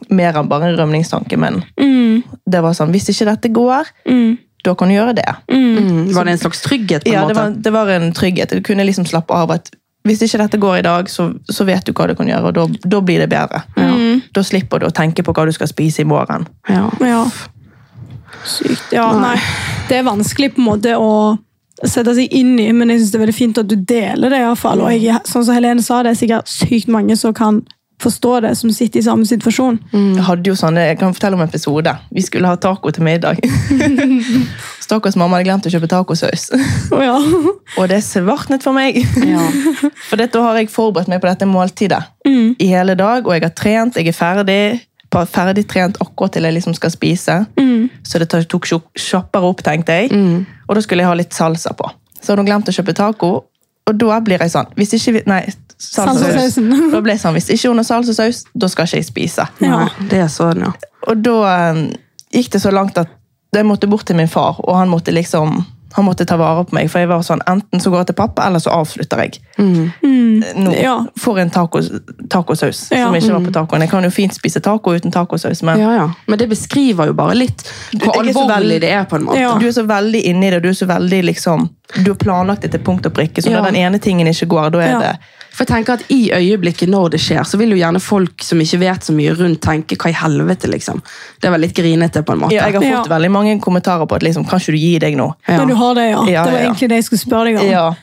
mer enn bare en rømningstanke, men
Mm,
det var sånn Hvis ikke dette går,
mm,
da kan du gjøre det.
Mm. Var det en slags trygghet på en
Ja, det
måte?
var, det var en trygghet. Du kunne liksom slappe av at hvis ikke dette går i dag, så, så vet du hva du kan gjøre, og da, da blir det bedre.
Mm.
Da slipper du å tenke på hva du skal spise i morgen.
Ja.
ja. Sykt. Ja, nei. Det er vanskelig på en måte å sette seg inn i, men jeg synes det er veldig fint at du deler det. i hvert fall. Og jeg, sånn som Helene sa, det er sikkert sykt mange som kan forstå det, som sitter i samme situasjon.
Jeg hadde jo sånne, jeg kan fortelle om en episode. Vi skulle ha taco til middag. Stakkars mamma hadde glemt å kjøpe tacosaus.
Å, ja.
Og det svartnet for meg.
Ja.
For dette har jeg forberedt meg på dette måltidet i hele dag, og jeg har trent, jeg er ferdig, pa- ferdig trent akkurat til jeg liksom skal spise. Så det tar- tok kjo- kjappere opp, tenkte jeg. Og da skulle jeg ha litt salsa på. Så hadde hun glemt å kjøpe taco, og da blir jeg sånn, hvis ikke vi, nei, salsasaus.
Salsasausen.
Da ble jeg sånn, hvis ikke hun har salsasaus, da skal ikke jeg spise.
Ja.
Nei, det er sånn, ja.
Og da eh, gikk det så langt at jeg måtte bort til min far, og han måtte liksom han måtte ta vare på meg, for jeg var sånn, enten så går jeg til pappa, eller så avslutter jeg. Nå
Ja.
får jeg en taco, tacosaus,
Ja.
som ikke var på tacoen. Jeg kan jo fint spise taco uten tacosaus, men
Ja, ja. Men det beskriver jo bare litt hvor
Jeg er så
alvorlig
veldig-
det er, på en måte.
Ja.
du er så veldig inni det, og du er så veldig liksom, du har planlagt det til punkt og prikke, så
Ja.
når den ene tingen ikke går, da er
Ja.
det
For jeg tenker at I øyeblikket når det skjer, så vil jo gjerne folk som ikke vet så mye rundt, tenke hva i helvete, liksom. Det var litt grinete, på en måte.
ja, Jeg har
Ja.
fått veldig mange kommentarer på at liksom, kan ikke du gi deg nå?
Ja.
Men du har det, ja.
Ja,
Det var
ja, ja.
egentlig det jeg skulle spørre deg om.
Ja.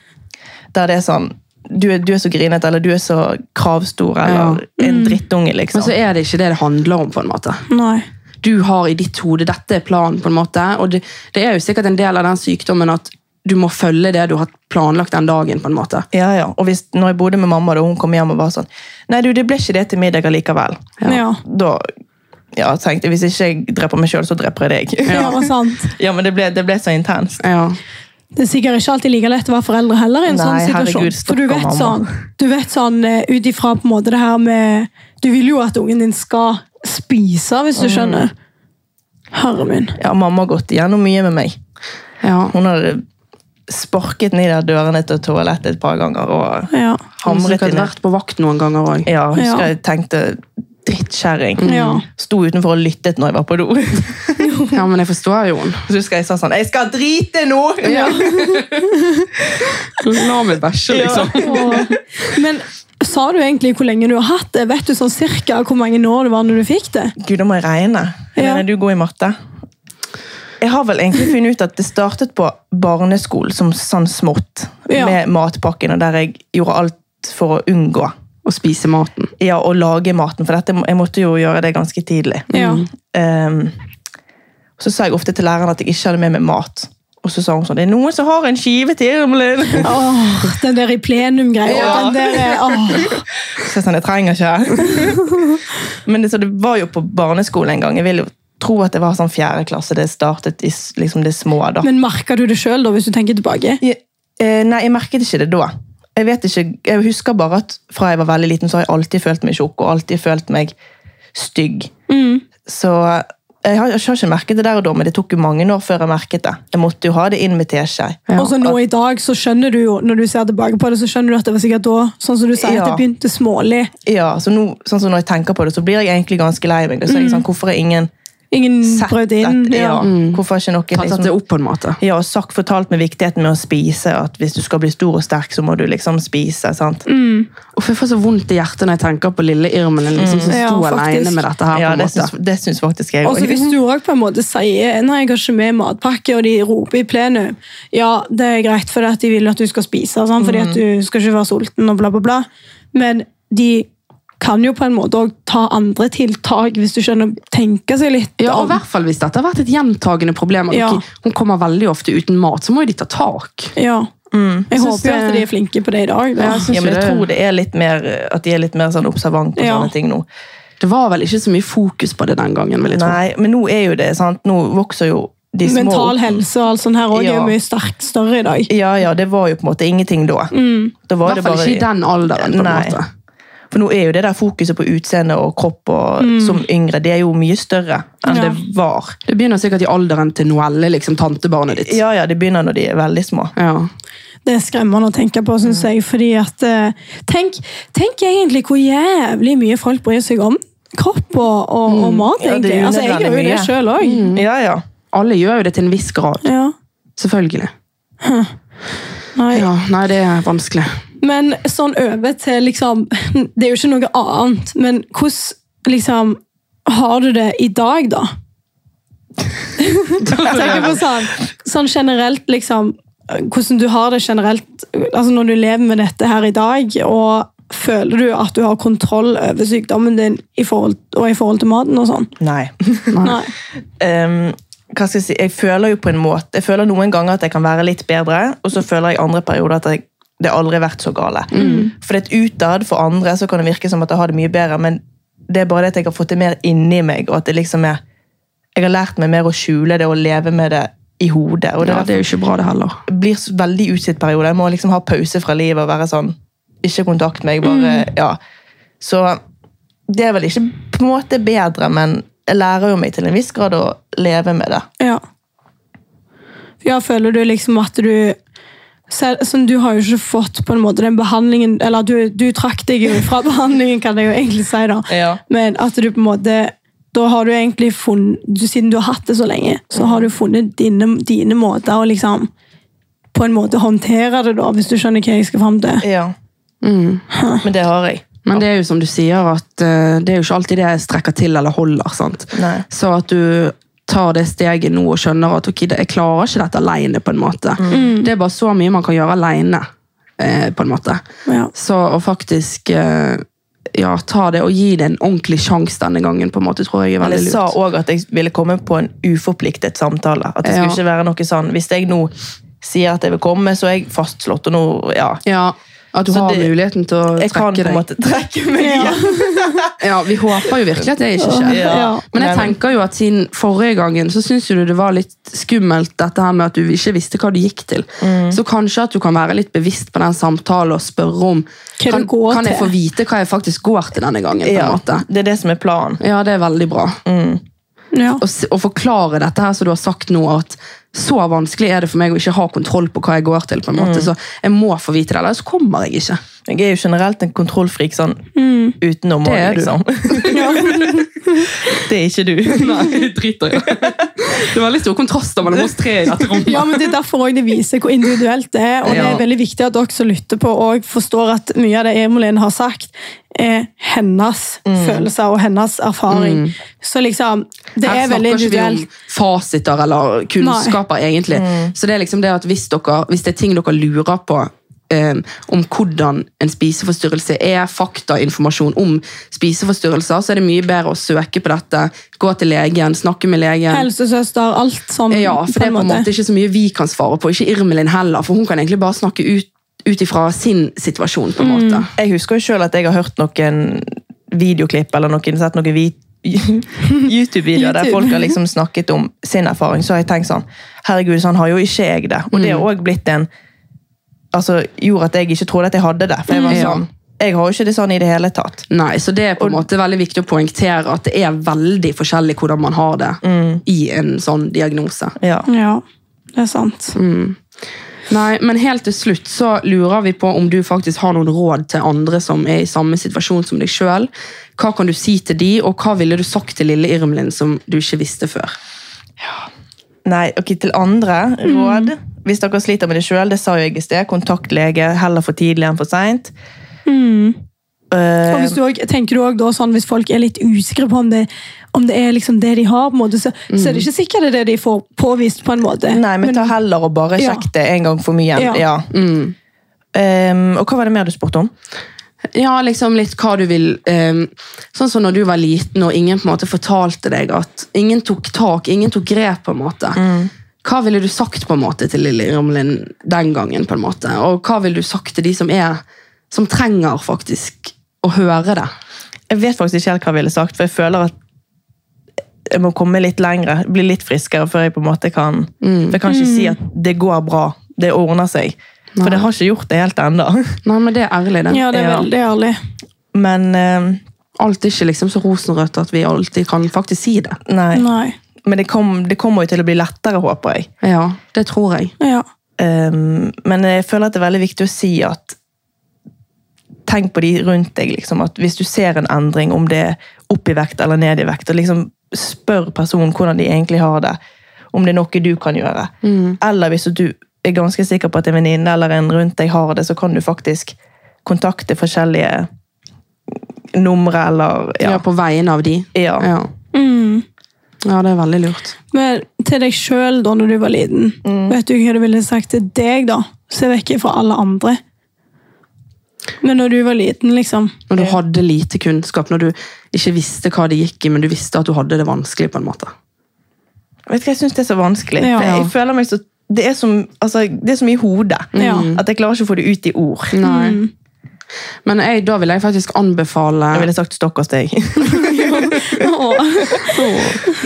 Der det er sånn, du er, du er så grinet, eller du er så kravstor, eller en drittunge, liksom.
Men så er det ikke det det handler om, på en måte.
Nei.
Du har i ditt hode dette er planen, på en måte. Og det, det er jo sikkert en del av den sykdommen at du må følge det du har planlagt den dagen, på en måte.
Ja, ja. Og hvis, når jeg bodde med mamma, da hun kom hjem og var sånn Nei, du, det ble ikke det til middag allikevel.
Ja. ja.
Da ja, tenkte jeg hvis ikke jeg dreper meg sjøl, så dreper jeg deg.
Det var sant.
Ja, men det ble, det ble så intenst.
Ja.
Det er sikkert ikke alltid like lett å være foreldre heller i en
Nei,
sånn situasjon.
herregud,
For du
stakkars
vet sånn,
mamma.
du vet sånn eh, ut ifra på en måte det her med Du vil jo at ungen din skal spise, hvis
Mm.
du skjønner. Herre min.
Ja, Mamma har gått igjennom mye med meg.
ja.
Hun har sparket ned der dørene til toalettet et par ganger og
Ja.
Hun har
hamret
sikkert
inn.
vært på vakt noen ganger òg.
Ja, jeg husker
Ja.
jeg tenkte Drittkjerring.
Ja.
Sto utenfor og lyttet når jeg var på do.
Ja, men jeg forstår jo henne.
Så husker jeg sa sånn Jeg skal drite nå!
La meg bæsje,
liksom.
Og, men sa du egentlig hvor lenge du har hatt det? Vet du sånn cirka hvor mange år det var når du fikk det?
Gud, da må jeg regne.
Ja.
Helene, du er god i matte. Jeg har vel egentlig funnet ut at det startet på barneskolen som sånn smått.
Ja.
Med matpakken, og der jeg gjorde alt for å unngå
Og spise maten.
ja, å lage maten. For dette, jeg måtte jo gjøre det ganske tidlig.
Ja.
Ehm, så sa jeg ofte til læreren at jeg ikke hadde med meg mat. Og så sa hun sånn Det er noen som har en skive til! Emelin."
Åh, den der i plenum-greia.
Ja.
Den der er- åh.
Så jeg sånn, jeg trenger ikke. Men det, så det var jo på barneskolen en gang. Jeg vil jo tro at det var sånn fjerde klasse. Det startet i s- liksom det små, da.
Men merka du det sjøl, hvis du tenker tilbake?
Jeg- eh, Nei, jeg merket ikke det da. Jeg vet ikke, jeg husker bare at fra jeg var veldig liten, så har jeg alltid følt meg tjukk og alltid følt meg stygg.
Mm.
Så eh, jeg har, jeg har ikke merket det der og da, men det tok jo mange år før jeg merket det. Jeg måtte jo ha det inn med teskje.
Og så nå i dag, så skjønner du jo, når du ser tilbake på det, så skjønner du at det var sikkert da, sånn som du sier, at
Ja.
det begynte smålig.
Ja, så nå, sånn som når jeg tenker på det, så blir jeg egentlig ganske lei meg. Så er jeg sånn, hvorfor er ingen
Ingen
sett
brøt Mm. inn.
dette. Ja.
Ja. Mm.
Hvorfor har ikke noen
Tatt det
liksom,
opp på en måte.
ja, og Zack fortalte meg viktigheten med å spise. At hvis du skal bli stor og sterk, så må du liksom spise. sant?
Mm.
Uff, jeg får så vondt i hjertet når jeg tenker på lille Irmen liksom, som
Mm. Ja,
sto
faktisk.
alene med dette her.
Ja,
på en
det
måte.
syns, det syns faktisk jeg
Og så
òg.
hvis du også på en måte sier nei, jeg har ikke med matpakke, og de roper i plenum, ja, det er greit, for at de vil at du skal spise, sånn, fordi at du skal ikke være sulten, og bla, bla, bla. Men de kan jo på en måte også ta andre tiltak, hvis du skjønner, tenke seg litt
Ja, og i
om.
hvert fall hvis dette har vært et gjentagende problem. at
Ja.
ok, Hun kommer veldig ofte uten mat, så må jo de ta tak.
Ja. Jeg
Syns
håper jo
det-
at de er flinke på det i dag. Da.
Ja, syns
Ja, men
ikke
jeg
det.
tror det er litt mer, at de er litt mer sånn observant på
Ja.
sånne ting nå.
Det var vel ikke så mye fokus på det den gangen. vil jeg tro.
Nei, men nå er jo det, sant? Nå vokser jo de små
Mental helse og alt sånt her også er
Ja.
jo mye sterk, større i dag.
Ja, ja, det var jo på en måte ingenting da. Da
I
var det
hvert fall
bare...
ikke i den alderen. på en
Nei.
måte.
For nå er jo det der fokuset på utseende og kropp og, som yngre, det er jo mye større enn
Ja.
det var.
Det begynner sikkert i alderen til Noelle, liksom tantebarnet ditt.
Ja, ja, det begynner når de er veldig små.
Ja.
Det er skremmende å tenke på, syns jeg. fordi at eh, tenk, tenk egentlig hvor jævlig mye folk bryr seg om kropp og, og, og mat,
Mm. Ja, det
egentlig.
er
altså, jeg gjør jo
unødvendig
det
mye. Mm.
sjøl òg.
Ja, ja.
Alle gjør jo det til en viss grad.
Ja.
Selvfølgelig.
Nei.
Ja, Nei, det er vanskelig.
Men sånn over til liksom Det er jo ikke noe annet, men hvordan liksom har du det i dag, da? Tenker på sånn, sånn generelt, liksom Hvordan du har det generelt altså når du lever med dette her i dag. og Føler du at du har kontroll over sykdommen din i forhold, og i forhold til maten? og sånn?
Nei.
Nei.
Ehm, hva skal jeg si? Jeg føler jo på en måte, jeg føler noen ganger at jeg kan være litt bedre, og så føler jeg andre perioder at jeg, det aldri har vært så gale. For det er utad for andre, så kan det virke som at jeg har det mye bedre, men det er bare det at jeg har fått det mer inni meg, og at det liksom er, jeg har lært meg mer å skjule det og leve med det i hodet, og det
Ja,
er
det er jo ikke bra, det heller.
blir så- veldig utslitt periode. Jeg må liksom ha pause fra livet og være sånn Ikke kontakt meg, bare
Mm.
Ja. Så det er vel ikke på en måte bedre, men jeg lærer jo meg til en viss grad å leve med det.
Ja. Ja, føler du liksom at du selv, sånn, Du har jo ikke fått på en måte den behandlingen Eller du, du trakk deg jo fra behandlingen, kan jeg jo egentlig si, da.
Ja.
Men at du på en måte Da har du egentlig funnet du, Siden du har hatt det så lenge, så har du funnet dine, dine måter å liksom På en måte håndtere det, da, hvis du skjønner hva jeg skal fram til.
Ja.
Mm.
Men det har jeg.
Men det er jo som du sier, at eh, det er jo ikke alltid det strekker til eller holder. sant?
Nei.
Så at du tar det steget nå og skjønner at ok, det- jeg klarer ikke dette alene. På en måte.
Mm.
Det er bare så mye man kan gjøre alene. eh, På en måte.
Ja.
Så å faktisk eh, ja, ta det og gi det en ordentlig sjanse denne gangen, på en måte, tror jeg er
Men jeg
veldig
sa
lurt.
òg at jeg ville komme på en uforpliktet samtale. At det
Ja.
skulle ikke være noe sånn Hvis jeg nå sier at jeg vil komme, så er jeg fastslått, og nå Ja.
Ja, at du
Så
har
det-
muligheten til å
Jeg kan
trekke
på
deg.
en måte trekke meg
Ja.
igjen.
Ja, Vi håper jo virkelig at det ikke skjer.
Ja.
Men jeg
Nei, men-
tenker jo at siden forrige gangen så syns du det var litt skummelt dette her med at du ikke visste hva du gikk til.
Mm.
Så kanskje at du kan være litt bevisst på den samtalen og spørre om
Hva
kan,
du går
kan jeg
til?
få vite hva jeg faktisk går til denne gangen. på en
Ja,
måte.
det er det som er planen.
Ja, det er veldig bra.
Ja.
Å s- å forklare dette her som du har sagt nå, at så vanskelig er det for meg å ikke ha kontroll på hva jeg går til. på en måte, Så jeg må få vite det, ellers kommer jeg ikke.
Jeg er jo generelt en kontrollfrik sånn utenom
Mm. Det er
òg,
du.
liksom. det er ikke du.
Nei, driter jeg. Det er veldig store kontraster mellom oss tre i dette rommet.
Ja, men Det er derfor også det viser hvor individuelt det er. Og det
Ja.
er veldig viktig at dere som lytter på, og forstår at mye av det Emilien har sagt, er hennes
Mm.
følelser og hennes erfaring. Så liksom, det
Her
er veldig
snakker ikke vi
individuelt. Mm.
om fasiter eller kunnskaper, egentlig. Så det er liksom det at hvis, dere, hvis det er ting dere lurer på eh, om hvordan en spiseforstyrrelse er, faktainformasjon om spiseforstyrrelser, så er det mye bedre å søke på dette, gå til legen, snakke med legen.
Helsesøster, alt sånn.
ja, for det er Mm, på en måte ikke så mye vi kan svare på, ikke Irmelin heller, for hun kan egentlig bare snakke ut, ut ifra sin situasjon, på en måte.
Jeg husker jo sjøl at jeg har hørt noen videoklipp eller noen, sett noen vi- YouTube-videoer der
YouTube.
folk har liksom snakket om sin erfaring. Så har jeg tenkt sånn Herregud, sånn har jo ikke jeg det. Og det
Mm.
har òg blitt en Altså, gjorde at jeg ikke trodde at jeg hadde det. For jeg var
Mm.
sånn Jeg har jo ikke det sånn i det hele tatt.
Nei, så det er på en måte veldig viktig å poengtere at det er veldig forskjellig hvordan man Mm. har det i en sånn diagnose.
Ja.
Ja, det er sant.
Nei, men helt til slutt så lurer vi på om du faktisk har noen råd til andre som er i samme situasjon som deg sjøl. Hva kan du si til de, og hva ville du sagt til lille Irmelin som du ikke visste før?
Nei, ok, til andre
Mm.
råd. Hvis dere sliter med det sjøl, det sa jo jeg i sted, kontakt lege heller for tidlig enn for seint.
Og hvis du også, tenker du også da sånn, hvis folk er litt usikre på om det, om det er liksom det de har, på en måte, så, så
Mm.
er det ikke sikkert det er det de får påvist på en måte.
Nei, men ta heller og bare
Ja.
sjekk det en gang for mye.
Ja.
Ja. Mm. Ehm, og hva var det mer du spurte om?
Ja, liksom litt hva du vil ehm, Sånn som når du var liten og ingen på en måte fortalte deg at Ingen tok tak, ingen tok grep, på en måte. Hva ville du sagt på en måte til lille Irmelin den gangen? på en måte? Og hva ville du sagt til de som er Som trenger faktisk å høre det?
Jeg vet faktisk ikke helt hva jeg ville sagt, for jeg føler at jeg må komme litt lengre, bli litt friskere, før jeg på en måte kan For jeg kan ikke si at det går bra, det ordner seg. For det har ikke gjort det helt ennå.
Nei, men det er ærlig, det.
Ja, det er
Ja.
veldig ærlig.
Men ehm,
Alt er ikke liksom så rosenrødt at vi alltid kan faktisk si det.
nei.
Nei.
Men det, kom, det kommer jo til å bli lettere, håper jeg.
Ja, det tror jeg.
Ja.
Ehm, men jeg føler at det er veldig viktig å si at Tenk på de rundt deg. Liksom, at Hvis du ser en endring, om det er opp i vekt eller ned i vekt, og liksom spør personen hvordan de egentlig har det. Om det er noe du kan gjøre.
Mm.
Eller hvis du er ganske sikker på at en venninne eller en rundt deg har det, så kan du faktisk kontakte forskjellige numre eller
Ja.
Ja.
på vegne av de.
ja.
Ja.
Mm.
ja, det er veldig lurt.
Men til deg sjøl da når du var liten,
Mm.
vet du hva du ville sagt til deg da? Se vekk fra alle andre. Men når du var liten, liksom.
Når du hadde lite kunnskap, når du ikke visste hva det gikk i, men du visste at du hadde det vanskelig, på en måte.
Vet du hva, Jeg syns det er så vanskelig.
Ja.
For Jeg føler meg så, det, er som, altså, det er så mye i hodet
Ja. Mm.
at jeg klarer ikke å få det ut i ord.
Nei. Men jeg, da vil jeg faktisk anbefale
Jeg ville sagt stakkars deg.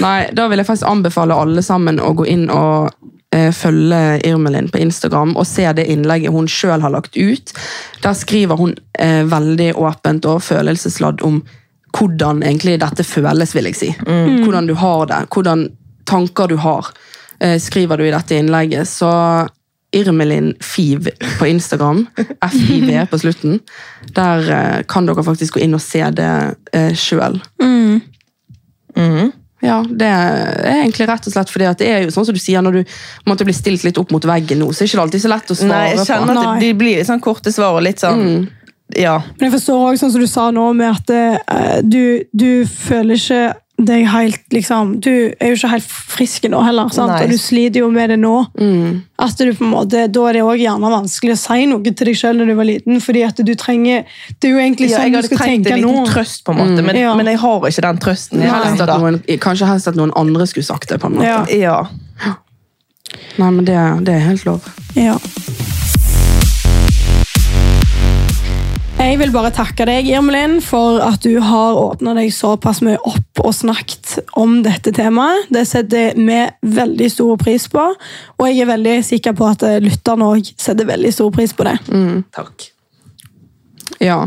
Nei, da vil jeg faktisk anbefale alle sammen å gå inn og eh, følge Irmelin på Instagram og se det innlegget hun sjøl har lagt ut. Der skriver hun eh, veldig åpent og følelsesladd om hvordan egentlig dette føles, vil jeg si. Hvordan du har det, hvordan tanker du har, eh, skriver du i dette innlegget. Så Irmelin Fiv på Instagram, FIV på slutten, der eh, kan dere faktisk gå inn og se det eh, sjøl. Ja, det er egentlig rett og slett fordi at det er jo sånn som du sier, når du på en måte blir stilt litt opp mot veggen nå, så er ikke det alltid så lett å svare
Nei, jeg kjenner
Nei.
at det, det blir litt sånn korte svar og litt sånn Ja.
Men jeg forstår også, sånn som du sa nå, med at eh, du, du føler ikke deg helt liksom, Du er jo ikke helt frisk nå heller, sant?
Nei. Mm.
og du sliter jo med det nå. At du på en måte, Da er det også gjerne vanskelig å si noe til deg sjøl når du var liten. fordi at du trenger, Det er jo egentlig
ja
sånn
jeg
du
hadde
skal
trengt
tenke
en
nå.
liten trøst, på en måte, men,
Ja.
men jeg har ikke den trøsten.
på. Helst
Helst
at
da.
noen, kanskje helst at noen andre skulle sagt det. på en måte.
Ja.
Ja.
Nei, men det, det er helt lov.
Ja. Jeg vil bare takke deg, Irmelin, for at du har åpna deg såpass mye opp og snakket om dette temaet. Det setter vi veldig stor pris på, og jeg er veldig sikker på at eh, lytterne òg setter veldig stor pris på det.
Takk.
Ja.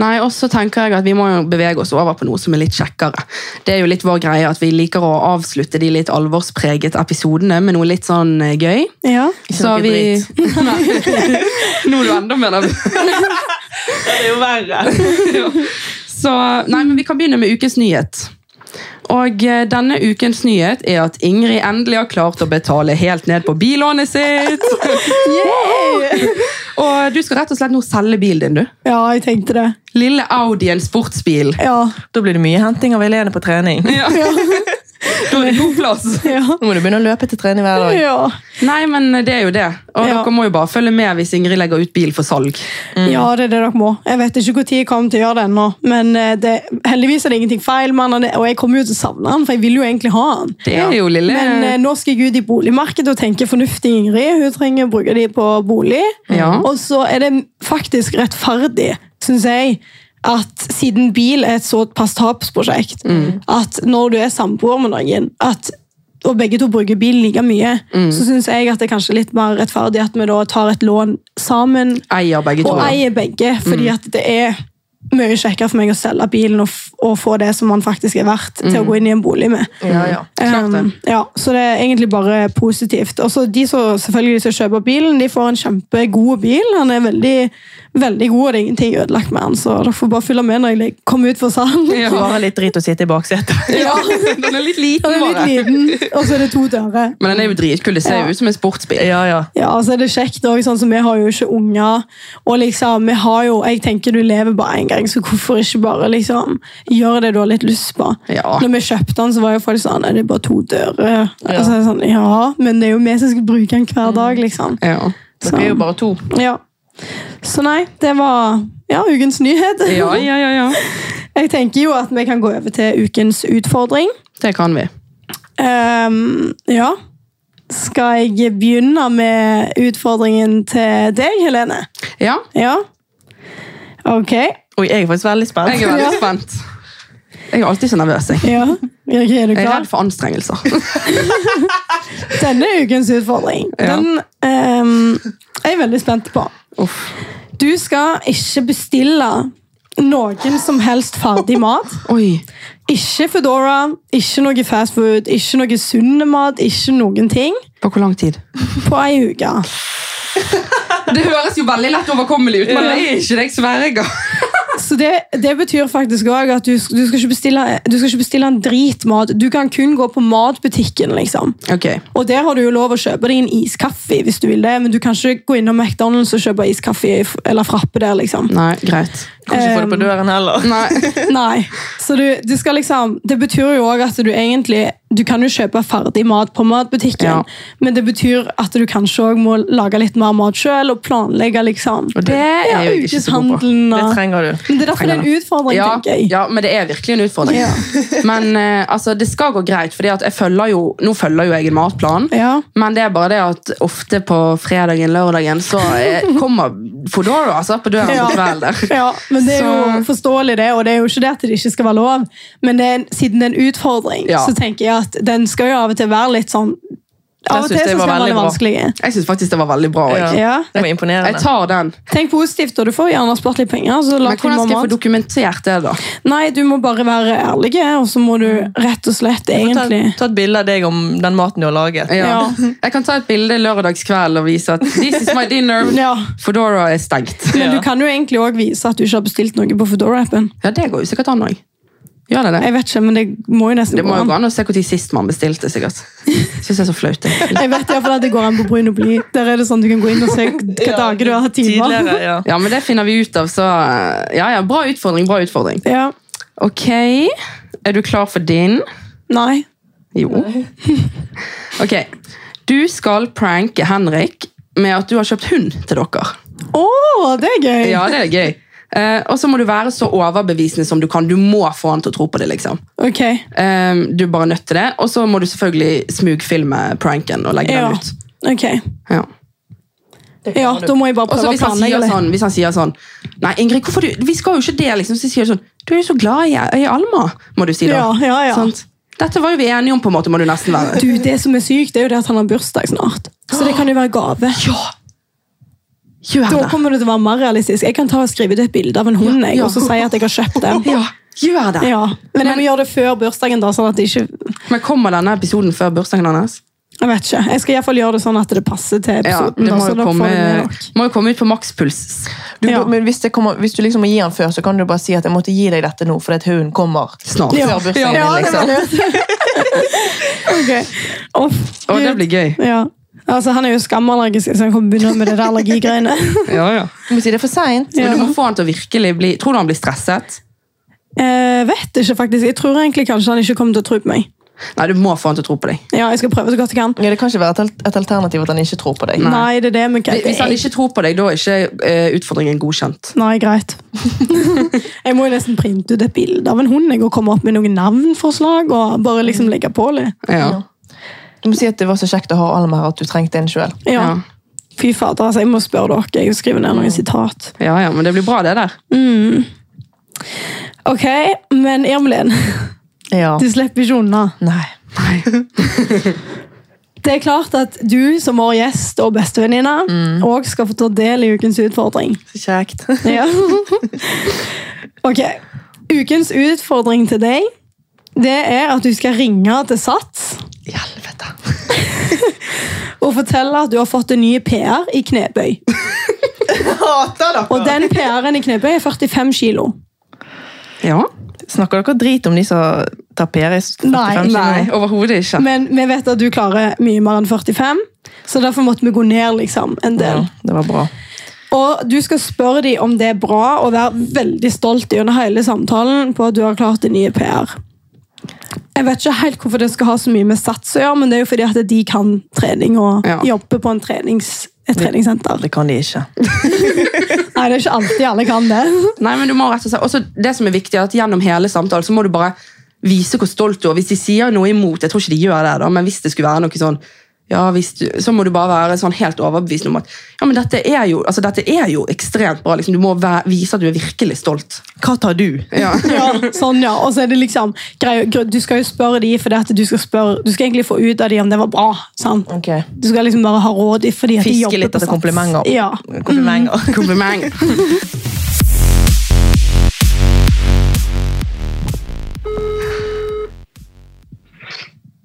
Nei, og så tenker jeg at Vi må jo bevege oss over på noe som er litt kjekkere. Det er jo litt vår greie at Vi liker å avslutte de litt alvorspreget episodene med noe litt sånn eh, gøy.
Ja.
Så
noe
vi... Nei. Nå er du enda mer nervøs.
Det er jo verre.
Så, nei, men Vi kan begynne med ukens nyhet. Og eh, Denne ukens nyhet er at Ingrid endelig har klart å betale helt ned på billånet sitt. og Du skal rett og slett nå selge bilen din. du.
ja, jeg tenkte det.
Lille Audien sportsbil.
Ja.
Da blir det mye henting av Helene på trening.
Ja. da er det god plass.
Ja.
Nå må du begynne å løpe til trening hver dag.
Ja.
Nei, men det er jo det. Og
Ja.
Dere må jo bare følge med hvis Ingrid legger ut bil for salg.
ja, det er det dere må. Jeg vet ikke når jeg kommer til å gjøre det ennå, men eh, det, heldigvis er det ingenting feil med han, og det- og jeg kommer jo til å savne han, for jeg vil jo egentlig ha han.
Det er jo lille...
Men eh, nå skal jeg ut i boligmarkedet og tenke fornuftig Ingrid. Hun trenger å bruke de på bolig.
Ja.
Og så er det faktisk rettferdig, syns jeg, at siden bil er et såpass tapsprosjekt, at når du er samboer med noen, at og begge to bruker bil like mye, så syns jeg at det er kanskje litt mer rettferdig at vi da tar et lån sammen
Eier begge
Mm.
to.
og eier begge, fordi at det er mye kjekkere for meg å selge bilen og, f og få det som man faktisk er verdt, til å gå inn i en bolig med.
Ja, ja.
Klart det.
Um, ja, så det er egentlig bare positivt. Også de som selvfølgelig de som kjøper bilen, de får en kjempegod bil. Han er veldig, veldig god, og det er ingenting ødelagt med han, så dere får bare følge med når jeg kommer ut for salen.
Mm.
Ja.
Bare litt drit å sitte i baksetet.
Ja, den er litt liten,
Han er
bare.
litt liten, og så er det to dører.
Men den er jo dritkul. Det ser jo
Ja.
ut som en sportsbil.
Ja, ja.
Ja, og så er det kjekt også, sånn som vi har jo ikke unger, og liksom, vi har jo, jeg tenker du lever bare en gang, så hvorfor ikke bare liksom, gjøre det du har litt lyst på?
Ja.
Når vi kjøpte den, så var jo folk sånn, er det er bare to dører? Og så er det sånn, ja, men det er jo vi som skal bruke den hver dag, liksom.
Ja.
Så-
Dere er jo bare to.
Ja. Så nei, det var ja, ukens nyhet.
ja, ja, ja, ja.
Jeg tenker jo at vi kan gå over til ukens utfordring.
Det kan vi.
Ehm, ja. Skal jeg begynne med utfordringen til deg, Helene?
Ja,
Ja. Ok.
Oi, jeg er faktisk veldig spent.
jeg er veldig
Ja.
spent. Jeg er alltid så nervøs. Jeg.
Ja. Virke, er du
Jeg er
klar?
redd for anstrengelser.
Denne ukens utfordring,
Ja.
den ehm, er jeg veldig spent på.
Uff.
Du skal ikke bestille noen som helst ferdig mat.
Oi.
Ikke Foodora, ikke noe fast food, ikke noe sunn mat, ikke noen ting
På hvor lang tid?
på ei uke.
Det høres jo veldig lett overkommelig ut, men det er ikke det jeg sverger.
Så det, det betyr faktisk òg at du, du, skal ikke bestille, du skal ikke bestille en dritmat. Du kan kun gå på matbutikken, liksom.
Ok,
Og der har du jo lov å kjøpe deg en iskaffe hvis du vil det, men du kan ikke gå innom McDonald's og kjøpe iskaffe f- eller frappe der, liksom.
Nei, greit.
Kanskje få det på døren heller.
Nei.
Nei. Så du, du skal liksom Det betyr jo òg at du egentlig Du kan jo kjøpe ferdig mat på matbutikken,
Ja.
men det betyr at du kanskje òg må lage litt mer mat sjøl og planlegge, liksom.
Og det er
Ja,
jeg ikke så god på.
ukeshandelen
Det
og
trenger du.
Men det er derfor det er en utfordring,
Ja,
tenker jeg.
ja, men det er virkelig en utfordring.
Ja.
Men eh, altså, det skal gå greit, for nå følger jo jeg en matplan.
Ja.
Men det er bare det at ofte på fredagen, lørdagen, så eh, kommer Foodora altså, på døren
Ja.
på kvelden der.
Ja, men Det er jo
Så-
forståelig, det, og det er jo ikke det at det ikke skal være lov. Men det er, en- siden det er en utfordring,
Ja.
så tenker jeg at den skal jo av og til være litt sånn Av og til
synes jeg
så
var
skal den være
veldig bra.
vanskelig.
Jeg syns faktisk det var veldig bra.
Ja.
Jeg.
Ja.
Det var
jeg
imponerende.
tar den.
Tenk positivt, og du får gjerne spart litt penger. Så lag
Men hvordan skal jeg få
mat.
dokumentert det, da?
Nei, du må bare være ærlig, og så må du rett og slett
Mm. Ta,
egentlig
ta et bilde av deg om den maten du har laget.
Ja.
Ja.
Jeg kan ta et bilde lørdagskveld og vise at this is my dinner.
Ja.
Foodora er stengt.
Men
Ja.
du kan jo egentlig òg vise at du ikke har bestilt noe på Foodora-appen.
Ja, det går jo sikkert an òg. Gjør det det?
Jeg vet ikke, men det må jo nesten
Det må
gå
jo gå
an.
an å se når sist man bestilte, sikkert. Synes jeg er så flaut. egentlig.
Jeg vet i hvert fall at det går an på Brun og Bli. Der er det sånn du kan gå inn og se hvilke
Ja,
dager du har hatt timer.
Tidligere, ja.
Ja, men det finner vi ut av, så eh, Ja, ja, bra utfordring, bra utfordring.
Ja.
Ok, er du klar for din?
Nei.
Jo. Ok, du skal pranke Henrik med at du har kjøpt hund til dere.
Å, det er gøy!
Ja, det er gøy. Eh, og så må du være så overbevisende som du kan. Du må få han til å tro på det, liksom.
Ok.
Eh, du er bare nødt til det. Og så må du selvfølgelig smugfilme pranken og legge
Ja.
den ut.
ok.
Ja.
Ja, da må jeg bare
Og
prøve
så
å
hvis, han
planlegge
sier
litt.
sånn, hvis han sier sånn Nei, Ingrid, hvorfor du, vi skal jo ikke det, liksom. Så sier du sånn Du er jo så glad i, i Alma, må du si da.
Ja, ja, ja.
Sant? Dette var jo vi enige om, på en måte, må du nesten være.
Du, Det som er sykt, det er jo det at han har bursdag snart. Så det kan jo være gave.
Gjør
Da
det.
kommer det til å være mer realistisk. Jeg kan ta og skrive ut et bilde av en hund jeg, og så si at jeg har kjøpt den.
Ja, gjør det.
Ja. Men jeg må gjøre det før bursdagen, da, sånn at det ikke
Men kommer denne episoden før bursdagen hans?
Jeg vet ikke. Jeg skal i hvert fall gjøre det sånn at det passer til
Ja,
episoden.
det
da,
må
så
jo
da får
komme,
det med nok.
må jo komme ut på makspuls.
Du,
Ja.
Men hvis, det kommer, hvis du liksom må gi han før, så kan du bare si at jeg måtte gi deg dette nå, fordi at hunden kommer
Snart.
før bursdagen
Ja,
din.
det var
Liksom.
Ok. Uff,
Å, det
Gud.
blir gøy.
Ja. Altså, Han er jo skamallergisk, så han kommer begynne med det der allergigreiene.
Ja, ja.
Du må si det er for seint.
Ja.
Men du må få han til å virkelig bli Tror du han blir stresset?
Jeg Eh, vet ikke, faktisk. Jeg tror egentlig kanskje han ikke kommer til å tro på meg.
Nei, du må få han til å tro på deg.
Ja, jeg skal prøve så godt jeg kan.
Ja, det kan ikke være et, al- et alternativ at han ikke tror på deg.
Nei, det er det, men hva-
Hvis han ikke tror på deg, da er ikke eh, utfordringen godkjent.
Nei, greit. jeg må jo nesten printe ut et bilde av en hund jeg, og komme opp med noen navnforslag. og bare liksom legge på litt.
Ja.
Du må si at det var så kjekt å ha Alma her, at du trengte en sjøl.
Ja.
Ja.
Fy fader, altså, jeg må spørre dere. Jeg skriver ned noen sitat.
ja, ja, men det blir bra, det der.
Ok, men Irmelin,
Ja.
du slipper ikke unna.
Nei.
Det er klart at du som vår gjest og bestevenninne òg skal få ta del i ukens utfordring.
Så kjekt.
Ja. Ok. Ukens utfordring til deg det er at du skal ringe til Sats
Helvete.
og fortelle at du har fått en ny PR i knebøy.
Hater dere!
Og den PR-en i knebøy er 45 kilo.
Ja.
Snakker dere drit om de som tar PR i 45
Nei,
kilo?
Nei, overhodet ikke.
Men vi vet at du klarer mye mer enn 45, så derfor måtte vi gå ned liksom, en
Ja,
del.
det var bra.
Og du skal spørre dem om det er bra, og være veldig stolt gjennom hele samtalen på at du har klart din nye PR. Jeg vet ikke helt hvorfor det skal ha så mye med sats å gjøre, men det er jo fordi at de kan trening og
Ja.
jobber på en trenings, et treningssenter.
Det kan de ikke.
Nei, det er ikke alltid alle kan det.
Nei, men du må rett og slett, også det som er viktig er at Gjennom hele samtalen så må du bare vise hvor stolt du er. Hvis de sier noe imot, jeg tror ikke de gjør det, da, men hvis det skulle være noe sånn ja, hvis du, så må du bare være sånn helt overbevist om at ja, men dette er jo, altså, dette er jo ekstremt bra. Liksom. Du må væ- vise at du er virkelig stolt.
Hva tar du?
Ja.
Ja, sånn, ja. Og så er det liksom grei- gr- Du skal jo spørre de, for det at du skal, spørre, du skal egentlig få ut av de om det var bra. sant?
Ok.
Du skal liksom bare ha råd i fordi at de
Fiske
jobber
litt
på
etter
sats.
komplimenter.
Ja.
Komplimenter.
Kompliment.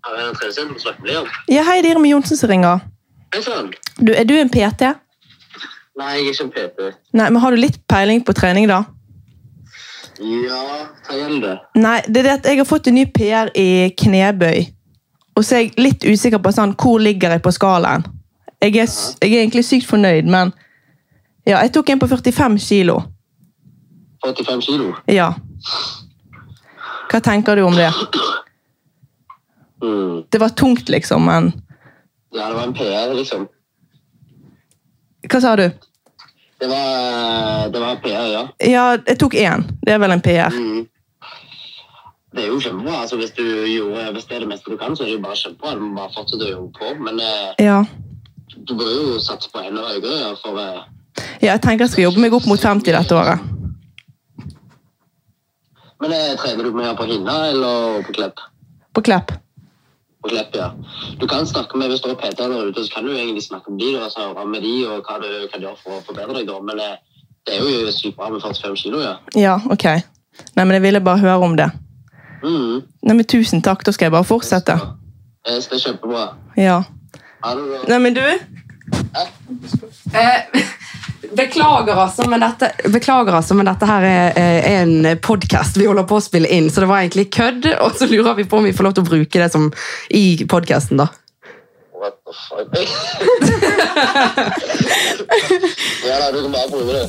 Har jeg en tredje siden å snakke med deg om?
Ja, hei, det er Irmi Johnsen som ringer.
Hei sann!
Du, er du en PT?
Nei, jeg er ikke en PT.
Nei, men har du litt peiling på trening, da?
Ja, hva gjelder det?
Nei, det er det at jeg har fått en ny PR i knebøy. Og så er jeg litt usikker på sånn, hvor ligger jeg på skalaen. Jeg er, s- jeg er egentlig sykt fornøyd, men ja, jeg tok en på 45 kilo.
45 kilo?
Ja. Hva tenker du om det?
Mm.
Det var tungt, liksom, men
Ja, det var en PR, liksom.
Hva sa du?
Det var, eh, det var PR, ja.
Ja, jeg tok én. Det er vel en PR.
Mm. Det er jo kjempebra. altså Hvis du gjorde hvis det er det meste du kan, så er det jo bare kjempebra. Du må bare fortsette å jobbe på. Men eh,
Ja.
du bør jo satse på enda høyere. ja, For eh,
ja, jeg tenker jeg skal jobbe meg opp mot 50 dette året.
Men eh, trener du mer på hinna eller på klepp?
På Klepp.
På klepp, ja. Du kan snakke med, Hvis det er PT-er der ute, så kan du egentlig snakke med de, da, altså, høre med de og hva du kan gjøre for å forbedre deg. da. Men eh, det er jo sykt bra med 45 kilo, ja.
Ja, ok. Nei, men jeg ville bare høre om det.
Mm.
Nei, men tusen takk. Da skal jeg bare fortsette.
Eh, så Det er kjempebra.
Ja.
Ha det bra.
Nei, men du?
Eh, Beklager altså, men dette, beklager altså, men dette her er, eh, en podcast vi holder på å spille inn, så det var egentlig kødd, og så lurer vi på om vi får lov til å bruke det som i podcasten da.
What the fuck? ja da, du kan bare prøve det.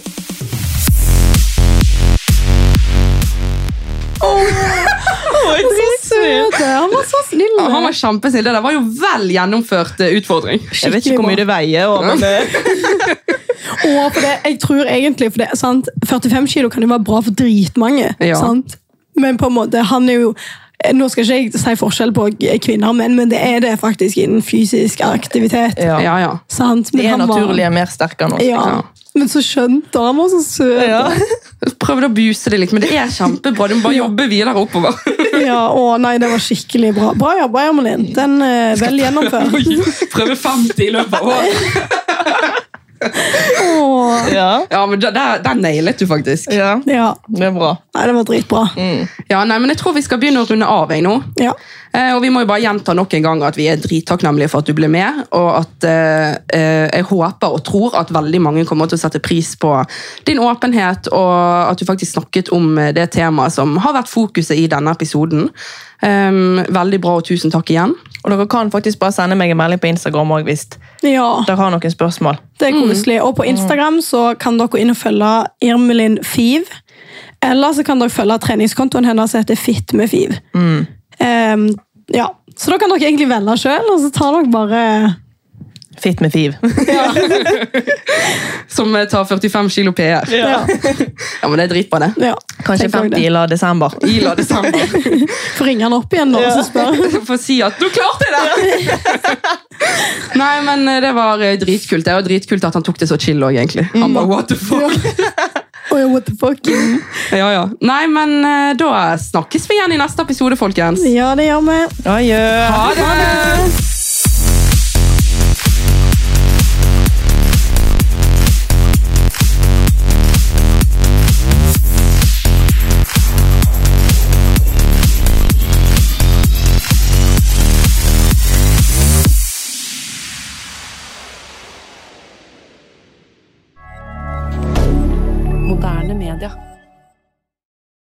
Søt, han var så snill.
Ja, han var kjempesnill, det der var jo vel gjennomført eh, utfordring.
Jeg vet ikke hvor mye det veier. og- Men, eh,
Og for det, jeg tror egentlig for det, sant? 45 kilo kan jo være bra for dritmange.
Ja.
Sant? Men på en måte, han er jo Nå skal ikke jeg si forskjell på g- kvinner og menn, men det er det faktisk innen fysisk aktivitet.
ja.
Ja, ja.
Sant? Men
Det er
han var-
naturlig er mer sterk enn oss.
Ja.
Ja.
Men så skjønt, da. Han var så søt.
Ja.
Prøvde å buse det litt, men det er kjempebra, du må bare jobbe videre oppover.
Ja, å nei, det var skikkelig bra. Bra jobba, Jamalin. Den eh, er vel gjennomført.
Prøve 50 i løpet av året.
Åh.
Ja.
Ja, men da- der, der nailet du faktisk.
ja.
Ja,
Det er bra.
nei, det var dritbra.
Mm.
Ja, nei, men jeg tror vi skal begynne å runde av jeg nå.
Ja.
Eh, og vi må jo bare gjenta nok en gang at vi er drittakknemlige for at du ble med, og at eh, eh, jeg håper og tror at veldig mange kommer til å sette pris på din åpenhet, og at du faktisk snakket om eh, det temaet som har vært fokuset i denne episoden. Ehm, veldig bra, og tusen takk igjen.
Og dere kan faktisk bare sende meg en melding på Instagram også, hvis
ja.
dere har noen spørsmål.
Det er koselig. Og på Instagram så kan dere gå inn og følge Irmelin Fiv. Eller så kan dere følge treningskontoen hennes som heter Fit med Fiv. Ehm, ja. Så da kan dere egentlig velge sjøl, og så tar dere bare
Fitt med fiv.
Som eh, tar 45 kilo PR.
Ja.
Ja, men det er dritbra, det.
ja.
Kanskje
Tenk dere
50 i
det.
la desember.
Ila desember.
Får ringe han opp igjen nå og så spørre.
For å si at 'du klarte det'! Nei, men eh, det var eh, dritkult. Det var dritkult at han tok det så chill òg, egentlig. Han bare, what the fuck?
Oi, Oh, what the fuck?
Ja, ja. Nei, men eh, da snakkes vi igjen i neste episode, folkens.
Ja, det gjør vi.
Adjø!
Ha det!